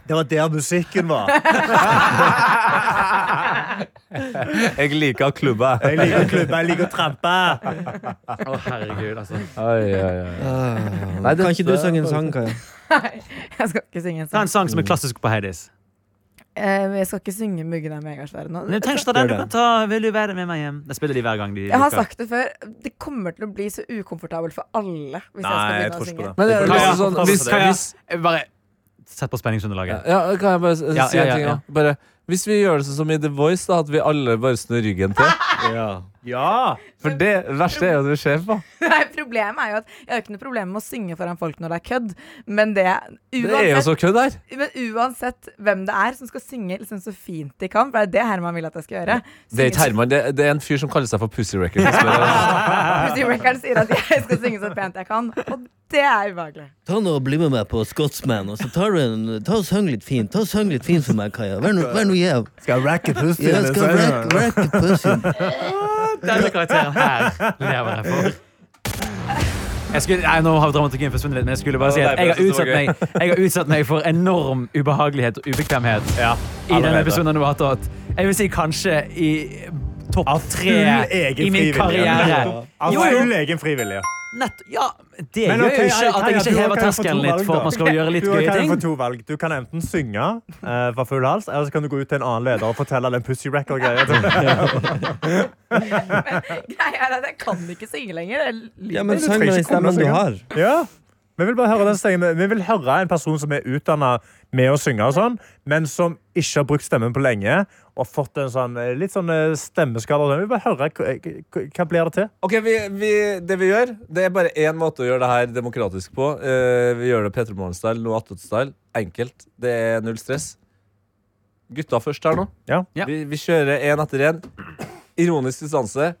[SPEAKER 4] Det var der musikken var.
[SPEAKER 2] Jeg liker klubba.
[SPEAKER 4] Jeg liker å klubbe, jeg liker å trampe.
[SPEAKER 6] Å, herregud, altså.
[SPEAKER 3] Ah. Kan ikke du synge en sang, Kaja?
[SPEAKER 5] Jeg skal ikke synge en
[SPEAKER 6] Ta
[SPEAKER 5] sang.
[SPEAKER 6] en sang som er klassisk på Heidis.
[SPEAKER 5] Eh, jeg skal ikke synge 'Muggene er megasvære' nå.
[SPEAKER 6] Men du trenger ikke ta den. Du kan ta 'Vil du være med meg hjem'. Det spiller de hver gang de
[SPEAKER 5] Jeg har
[SPEAKER 6] lukker.
[SPEAKER 5] sagt det før. Det kommer til å bli så ukomfortabelt for alle hvis
[SPEAKER 4] Nei, jeg
[SPEAKER 5] jeg skal begynne
[SPEAKER 4] tror ikke
[SPEAKER 5] å
[SPEAKER 4] på
[SPEAKER 5] synge.
[SPEAKER 4] det.
[SPEAKER 2] Men det er
[SPEAKER 6] Kaja,
[SPEAKER 2] liksom sånn, hvis,
[SPEAKER 6] Kaja,
[SPEAKER 2] hvis,
[SPEAKER 6] jeg bare Sett på spenningsunderlaget.
[SPEAKER 2] ja, Kan jeg bare s-
[SPEAKER 6] Ja,
[SPEAKER 2] si en
[SPEAKER 6] ja, ja,
[SPEAKER 2] ting?
[SPEAKER 6] ja.
[SPEAKER 2] da? Bare, hvis vi gjør det sånn som i The Voice, da, at vi alle bare snur ryggen til
[SPEAKER 3] Ja.
[SPEAKER 4] Ja.
[SPEAKER 2] For det verste er jo det skjer på.
[SPEAKER 5] Nei, problemet er jo at jeg har ikke noe problem med å synge foran folk når det er kødd, men det
[SPEAKER 2] Det er jo
[SPEAKER 5] uansett,
[SPEAKER 2] så kødd her.
[SPEAKER 5] men uansett hvem det er som skal synge liksom så fint de kan, for det er det Herman vil at jeg skal gjøre
[SPEAKER 2] Det er ikke Herman, det, det er en fyr som kaller seg for Pussy Record. som spør om-
[SPEAKER 5] Musikkmakeren sier at jeg skal synge så pent jeg kan, og det er ubehagelig.
[SPEAKER 3] Ta nå og Bli med meg på Scotsman, og så tar du en, ta og syng litt fint. Ta og syng litt fint for meg, Kaja. Vær nå no, gjev.
[SPEAKER 4] Skal racke pussy.
[SPEAKER 3] Jeg skal rack, rack pussyen.
[SPEAKER 6] Denne karakteren her lever jeg for. Jeg skulle, nei, nå har dramatikken forsvunnet litt, men jeg skulle bare si at jeg har utsatt meg, jeg har utsatt meg for enorm ubehagelighet og ubekvemhet
[SPEAKER 4] Ja,
[SPEAKER 6] i denne
[SPEAKER 4] allerede.
[SPEAKER 6] episoden. av Noe Attåt. Jeg vil si kanskje i topp tre i min karriere.
[SPEAKER 4] Av
[SPEAKER 6] Jo, jo.
[SPEAKER 4] full egen frivillige.
[SPEAKER 6] Nett, ja, det
[SPEAKER 4] Men
[SPEAKER 6] gjør
[SPEAKER 4] ok,
[SPEAKER 6] jo ikke at
[SPEAKER 4] Kaja,
[SPEAKER 6] jeg
[SPEAKER 4] du
[SPEAKER 6] ikke hever
[SPEAKER 4] kan jo få to
[SPEAKER 6] terskelen litt
[SPEAKER 4] valg,
[SPEAKER 6] for
[SPEAKER 4] da.
[SPEAKER 6] at man skal gjøre litt
[SPEAKER 4] Du
[SPEAKER 6] gøye
[SPEAKER 4] kan få
[SPEAKER 6] ting.
[SPEAKER 4] to valg. Du kan enten synge eh, fra full hals, eller så kan du gå ut til en annen leder og fortelle den pussy record-greia.
[SPEAKER 5] Greia er at jeg kan ikke synge lenger. Jeg lyder.
[SPEAKER 3] Ja, men
[SPEAKER 4] Du trenger
[SPEAKER 3] syng med den
[SPEAKER 4] ikke komme
[SPEAKER 3] stemmen du
[SPEAKER 4] med
[SPEAKER 3] har.
[SPEAKER 4] Ja. Vi vil bare høre den stemmen. Vi vil høre en person som er utdanna med å synge, og sånn, men som ikke har brukt stemmen på lenge. Og fått en sånn, eh, litt sånn eh, stemmeskade. og sånn. Vi vil bare høre k- k- hva blir det til.
[SPEAKER 2] Ok, vi, vi, Det vi gjør, det er bare én måte å gjøre det her demokratisk på. Eh, vi gjør det Petter Morgen-style, noe attåt-style. Enkelt. Det er null stress. gutta først her nå.
[SPEAKER 4] Ja.
[SPEAKER 6] Ja.
[SPEAKER 2] Vi, vi kjører én etter én. Ironisk distanse.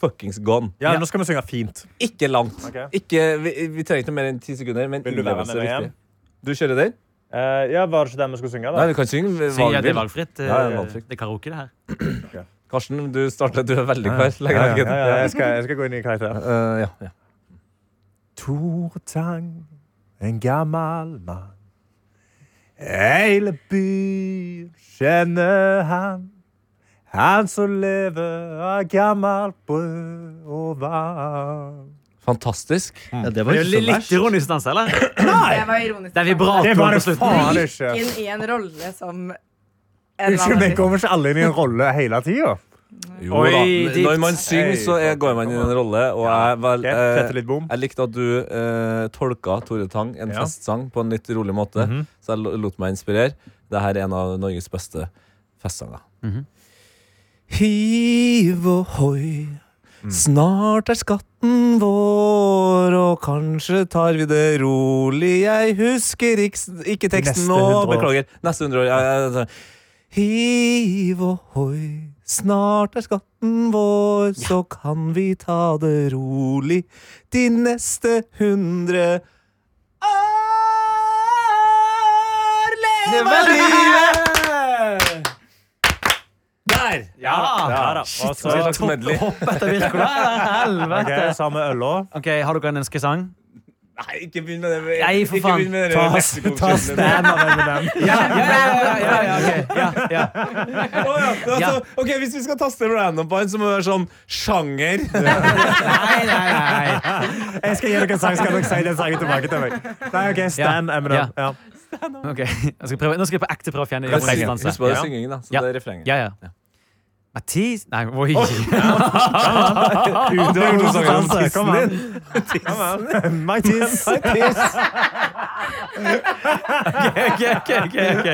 [SPEAKER 2] Fuckings gone.
[SPEAKER 4] Ja, nå skal vi synge fint.
[SPEAKER 2] Ikke langt.
[SPEAKER 4] Ok.
[SPEAKER 2] Ikke, vi, vi trenger ikke mer enn ti sekunder, men
[SPEAKER 4] Vil du være
[SPEAKER 2] innlevelse
[SPEAKER 4] med
[SPEAKER 2] er
[SPEAKER 4] meg
[SPEAKER 2] viktig. Du kjører den?
[SPEAKER 4] Eh, ja, Var det ikke den vi skulle synge?
[SPEAKER 2] Nei,
[SPEAKER 4] da?
[SPEAKER 2] vi kan synge hva
[SPEAKER 6] Sier
[SPEAKER 2] vi
[SPEAKER 6] jeg det er
[SPEAKER 2] vil.
[SPEAKER 6] valgfritt?
[SPEAKER 2] Ja, det er
[SPEAKER 6] eh,
[SPEAKER 2] valgfritt.
[SPEAKER 6] Det er karaoke, det her.
[SPEAKER 2] Karsten, du starter. Du er veldig klar. Legg
[SPEAKER 4] Ja, ja,
[SPEAKER 2] merke til
[SPEAKER 4] ja, ja,
[SPEAKER 2] det.
[SPEAKER 4] jeg, skal, jeg skal gå inn i karakter.
[SPEAKER 2] Eh, ja, ja.
[SPEAKER 4] Tor Tang, en gammel mann. Hele byen kjenner han. Han som lever av gammelt brød og vann.
[SPEAKER 2] Fantastisk.
[SPEAKER 3] Ja, det var
[SPEAKER 6] Det er
[SPEAKER 3] ikke
[SPEAKER 6] jo
[SPEAKER 3] så
[SPEAKER 6] litt
[SPEAKER 3] verst.
[SPEAKER 6] ironisk dans, eller?
[SPEAKER 5] Det var ironisk.
[SPEAKER 6] Det er vibrator
[SPEAKER 4] Det var
[SPEAKER 6] på
[SPEAKER 4] det
[SPEAKER 6] slutten.
[SPEAKER 4] faen
[SPEAKER 5] Jeg
[SPEAKER 4] ikke.
[SPEAKER 5] gikk inn i en rolle som en
[SPEAKER 4] Unnskyld, men
[SPEAKER 5] vanlig.
[SPEAKER 4] kommer ikke alle inn i en rolle hele tida?
[SPEAKER 2] Jo
[SPEAKER 6] Oi,
[SPEAKER 2] da.
[SPEAKER 6] dit.
[SPEAKER 2] Når man synger, så er, går man i en rolle, og jeg, vel, eh,
[SPEAKER 4] Sette litt bom.
[SPEAKER 2] jeg likte at du eh, tolka Tore Tang, en
[SPEAKER 4] Ja. Mhm.
[SPEAKER 2] festsang, på en litt rolig måte. Så jeg lo- lot meg inspirere. Dette er en av Norges beste festsanger. Hiv og hoi,
[SPEAKER 4] Mm.
[SPEAKER 2] snart er skatten vår, og kanskje tar vi det rolig. Jeg husker ikke, ikke teksten
[SPEAKER 4] Neste
[SPEAKER 2] nå,
[SPEAKER 4] hundre år.
[SPEAKER 2] beklager. Neste hundre år. Ja, ja, ja. Hiv og hoi, snart er skatten vår, så kan vi ta det rolig de neste hundre år. Leve livet! Der!
[SPEAKER 6] Ja,
[SPEAKER 4] Ja da. Og så
[SPEAKER 2] Det er slags medley.
[SPEAKER 6] Hopp etter Wirkola. Helvete.
[SPEAKER 4] Ok, samme øla.
[SPEAKER 6] Ok, Har dere en ønskesang?
[SPEAKER 2] Nei, ikke begynn med det.
[SPEAKER 6] Nei, for
[SPEAKER 2] ikke
[SPEAKER 6] faen.
[SPEAKER 2] begynn med det.
[SPEAKER 6] Ta-
[SPEAKER 2] leksikonkjøpet.
[SPEAKER 6] ta stand. Ja, ja, ja, ja, ja, ok. ja, ja.
[SPEAKER 2] Å ja, altså,
[SPEAKER 6] Ja.
[SPEAKER 2] Ok, Hvis vi skal taste random på en, så må det være sånn sjanger.
[SPEAKER 6] Nei, nei, nei.
[SPEAKER 4] Jeg skal gi dere en sang, skal dere si den sangen tilbake til meg. Nei, ok, Stan
[SPEAKER 6] Ja.
[SPEAKER 4] Eminem. Ja. Ah.
[SPEAKER 6] Ok, jeg skal prøve. Nå skal jeg på ekte prøve å fjerne
[SPEAKER 2] Husk på
[SPEAKER 6] referanse.
[SPEAKER 2] det er
[SPEAKER 6] Ja.
[SPEAKER 2] syngingen, da. Så
[SPEAKER 6] Ja.
[SPEAKER 2] det er refrenget.
[SPEAKER 6] Ja, ja. Mathis Nei, oi.
[SPEAKER 4] Du har gjort en sang om tissen
[SPEAKER 2] Kom an.
[SPEAKER 4] din. Kom an. My tiss.
[SPEAKER 6] Ok, ok, ok. ok.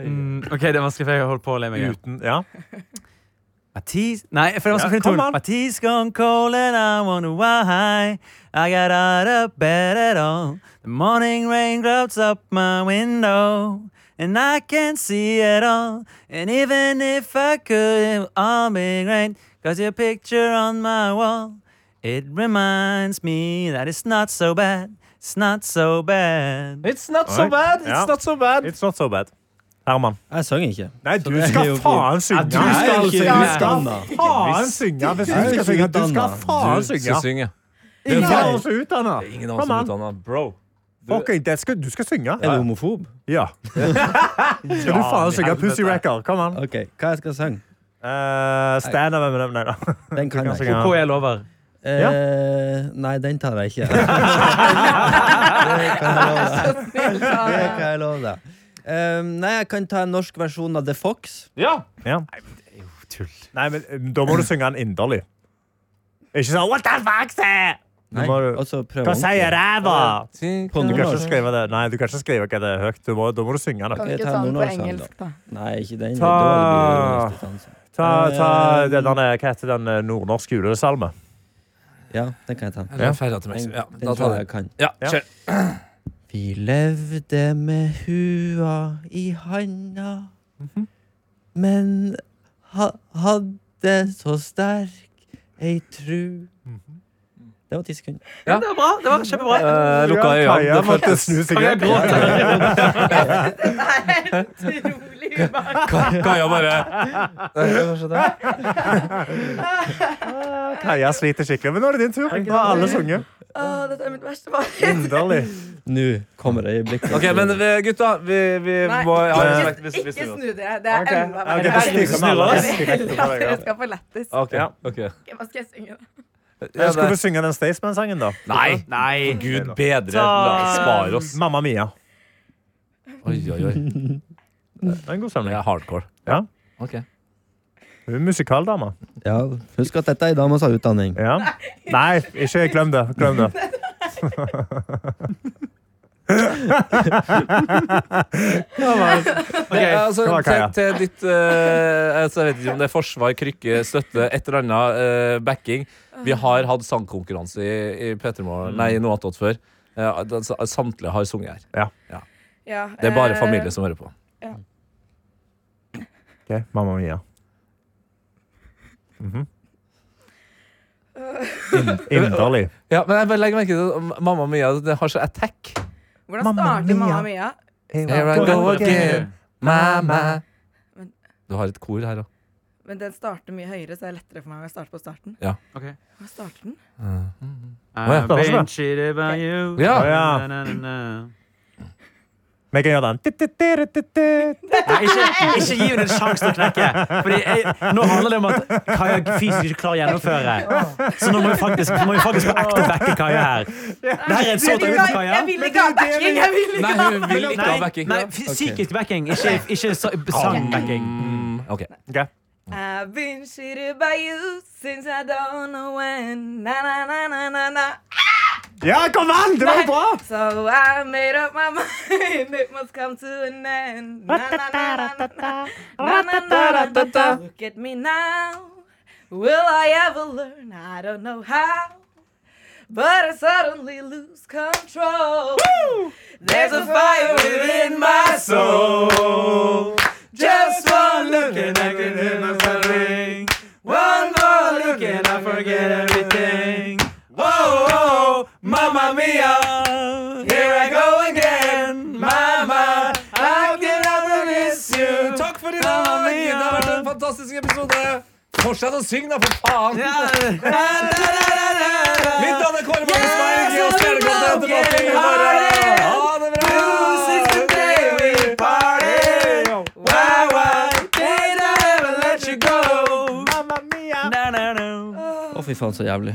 [SPEAKER 6] Mm, ok, det er vanskelig, for jeg holdt på å le meg.
[SPEAKER 4] Uten, ja.
[SPEAKER 6] Mathis Nei, for det er
[SPEAKER 4] Ja,
[SPEAKER 6] vanskelig å finne
[SPEAKER 4] kom
[SPEAKER 6] tonen.
[SPEAKER 4] an.
[SPEAKER 6] Mathis gone cold and I wonder why I got out of bed at all. The morning rain clouds up my window. And I can't see at all. And even if I could, it would all be great. Cause your picture on my wall, it reminds me that it's not so bad. It's not so bad.
[SPEAKER 2] It's not so
[SPEAKER 4] Oi.
[SPEAKER 2] bad. It's
[SPEAKER 4] Ja.
[SPEAKER 2] not so bad.
[SPEAKER 4] It's not so bad. Herman.
[SPEAKER 3] Jeg sang ikke.
[SPEAKER 4] Nei,
[SPEAKER 3] Så
[SPEAKER 4] du
[SPEAKER 3] det er
[SPEAKER 4] skal
[SPEAKER 3] jo
[SPEAKER 4] faen synge.
[SPEAKER 6] Ja, du
[SPEAKER 3] Jeg er
[SPEAKER 6] skal
[SPEAKER 3] ikke
[SPEAKER 6] synge.
[SPEAKER 3] utdanna.
[SPEAKER 4] faen synge hvis du skal synge. Du skal faen
[SPEAKER 2] Du skal
[SPEAKER 4] synge.
[SPEAKER 2] synge.
[SPEAKER 4] Ingen
[SPEAKER 2] Ja.
[SPEAKER 4] av oss er utdanna.
[SPEAKER 2] Ingen av oss er utdanna. Bro.
[SPEAKER 4] Fucking, det skal, du skal synge.
[SPEAKER 3] Er du homofob?
[SPEAKER 4] Ja. Skal du faen synge Pussy Wrecker? Kom an.
[SPEAKER 3] OK, hva jeg skal synge?
[SPEAKER 4] Uh, Stand up, Eminem. Nei da.
[SPEAKER 3] Den kan jeg ikke.
[SPEAKER 4] synge.
[SPEAKER 6] Hvor jeg lover.
[SPEAKER 3] Eh, nei, den tar jeg ikke. det kan jeg love deg. Det kan jeg love deg. Ehm, nei, jeg kan ta en norsk versjon av The Fox.
[SPEAKER 4] Ja. Nei, men um, da må du synge den inderlig. Ikke sånn What the fuck, say?
[SPEAKER 3] Nei,
[SPEAKER 4] må du-
[SPEAKER 3] og så prøv
[SPEAKER 4] Hva
[SPEAKER 3] ordentlig.
[SPEAKER 4] sier ræva?
[SPEAKER 3] På
[SPEAKER 4] Du kan ikke
[SPEAKER 3] nordnorsk.
[SPEAKER 4] skrive det Nei, du kan ikke skrive hva det er høyt. Du må, da må du synge det.
[SPEAKER 5] Kan vi
[SPEAKER 3] Jeg
[SPEAKER 5] ikke
[SPEAKER 3] tar
[SPEAKER 5] ta den på
[SPEAKER 3] nordnorsk,
[SPEAKER 5] engelsk, da?
[SPEAKER 3] Nei, ikke den.
[SPEAKER 4] Ta-
[SPEAKER 3] Det er dårlig distanse.
[SPEAKER 4] Ta, ta den der, hva heter den eh, nordnorske julesalme?
[SPEAKER 3] Ja, den kan jeg ta.
[SPEAKER 2] Eller ferja til
[SPEAKER 3] Den,
[SPEAKER 2] Mexico. Ja,
[SPEAKER 3] den
[SPEAKER 2] da
[SPEAKER 3] tror
[SPEAKER 2] tar
[SPEAKER 3] jeg
[SPEAKER 2] jeg.
[SPEAKER 3] jeg kan.
[SPEAKER 2] Ja,
[SPEAKER 4] Ja.
[SPEAKER 2] kjør.
[SPEAKER 3] Vi levde med hua i handa,
[SPEAKER 2] Mhm.
[SPEAKER 3] men ha hadde så sterk ei tru.
[SPEAKER 2] Mhm.
[SPEAKER 3] Det var ti sekunder.
[SPEAKER 2] Ja.
[SPEAKER 6] Det var bra. Det var kjempebra.
[SPEAKER 2] Jeg lukka øynene.
[SPEAKER 4] Kaja
[SPEAKER 2] Det
[SPEAKER 4] måtte
[SPEAKER 2] føltes
[SPEAKER 4] snu seg
[SPEAKER 6] Jeg
[SPEAKER 4] igjen.
[SPEAKER 6] gråter.
[SPEAKER 5] Utrolig ubehagelig.
[SPEAKER 2] Kaja bare
[SPEAKER 4] Kaja sliter skikkelig. Men nå er det din tur. Nå har alle sunget.
[SPEAKER 5] Åh, Dette er mitt verste mareritt.
[SPEAKER 4] Inderlig.
[SPEAKER 3] Nå kommer øyeblikket.
[SPEAKER 2] OK, men eh, gutta, vi, vi
[SPEAKER 5] Nei,
[SPEAKER 2] må ha respekt
[SPEAKER 5] ikke,
[SPEAKER 2] hvis vi
[SPEAKER 5] ikke
[SPEAKER 2] snur oss.
[SPEAKER 5] snu dere. Det er
[SPEAKER 4] Ok.
[SPEAKER 5] enda
[SPEAKER 4] Ok,
[SPEAKER 5] verre.
[SPEAKER 4] da stikker vi alle.
[SPEAKER 5] Jeg vil heller at dere skal få lættis.
[SPEAKER 2] OK.
[SPEAKER 4] Ja.
[SPEAKER 2] ok.
[SPEAKER 5] Ok, Hva skal jeg synge, da?
[SPEAKER 2] Ja,
[SPEAKER 4] Skal vi
[SPEAKER 2] det-
[SPEAKER 4] synge den Staysman-sangen, da?
[SPEAKER 2] Nei!
[SPEAKER 6] Nei.
[SPEAKER 2] Gud bedre. La
[SPEAKER 6] Ta-
[SPEAKER 2] spare oss.
[SPEAKER 4] Mamma Mia.
[SPEAKER 2] Oi, oi, oi.
[SPEAKER 4] Det er en god
[SPEAKER 2] Det
[SPEAKER 4] samling.
[SPEAKER 2] er hardcore.
[SPEAKER 4] Ja.
[SPEAKER 2] Ok.
[SPEAKER 4] Hun er musikaldame.
[SPEAKER 3] Ja, husk at dette er ei dame som har utdanning.
[SPEAKER 4] Ja. Nei, ikke glem det. Glem det.
[SPEAKER 2] Ok, altså,
[SPEAKER 4] det var
[SPEAKER 2] til,
[SPEAKER 4] Kaja.
[SPEAKER 2] til ditt eh, altså, Jeg vet ikke om det er forsvar, krykke, støtte, et eller annet eh, backing. Vi har hatt sangkonkurranse i, i Petremorgen, nei, i Noe attåt før. Eh, altså, samtlige har sunget her.
[SPEAKER 5] Ja,
[SPEAKER 2] Det er bare
[SPEAKER 5] eh,
[SPEAKER 2] familie som hører på.
[SPEAKER 4] Ok, Mamma Mia. Mhm. In- Inderlig.
[SPEAKER 2] Ja, men jeg bare legger merke til at Mamma Mia det har så attack.
[SPEAKER 5] Hvordan
[SPEAKER 4] Mamma
[SPEAKER 5] starter Mamma
[SPEAKER 4] Mia.
[SPEAKER 5] Mia?
[SPEAKER 2] Here I go again, mamma.
[SPEAKER 5] Men-
[SPEAKER 2] Du har et kor her òg.
[SPEAKER 5] Men den starter mye høyere, så det er lettere for meg å starte på starten.
[SPEAKER 6] Ok.
[SPEAKER 5] Hva starter den?
[SPEAKER 6] I've
[SPEAKER 4] kanskje
[SPEAKER 6] been
[SPEAKER 4] det.
[SPEAKER 6] cheated by you.
[SPEAKER 2] Ja.
[SPEAKER 4] Å, ja.
[SPEAKER 6] Na, na, na, na.
[SPEAKER 4] Vi kan gjøre den. Ti-ti-ti-ti-ti.
[SPEAKER 6] Nei, ikke, ikke gi henne en sjanse til å knekke. Fordi jeg, nå handler det om at Kaja fysisk ikke klarer å gjennomføre. Så nå må vi faktisk, så må vi faktisk på ekte backe Kaja her. Det her er et
[SPEAKER 5] Jeg
[SPEAKER 6] sånt
[SPEAKER 5] vil
[SPEAKER 6] øyeblikk,
[SPEAKER 5] ikke-
[SPEAKER 6] Kaja.
[SPEAKER 5] jeg vil ikke ha backing! Jeg vil
[SPEAKER 2] Nei,
[SPEAKER 5] ikke ha
[SPEAKER 2] hun vil ikke ha backing.
[SPEAKER 6] Nei, f- psykisk backing, ikke, ikke sa- sangbacking.
[SPEAKER 2] Ok.
[SPEAKER 4] Ok.
[SPEAKER 5] I've been cheated by you since I don't know when. Na, na, na, na, na, na.
[SPEAKER 4] Ja, kom an! Det var jo bra!
[SPEAKER 5] So I made up my mind, it must come to an end. Na, na, na, na, na, na. Na, na, na, na, na. Look at me now. Will I ever learn? I don't know how. But I suddenly lose control. There's a fire within my soul. Just one look and I can hear myself ring. One more look and I forget everything.
[SPEAKER 6] Oh, mamma mia, here I go again, mamma.
[SPEAKER 2] I can never miss you. Takk for i dag! Det har vært en fantastisk episode. Fortsett å synge, da, for faen! Mitt navn er Kåre Magnus Berg. Gi oss stjernekontent og mapping i morgen. Ha det bra!
[SPEAKER 3] Å, fy faen, så jævlig.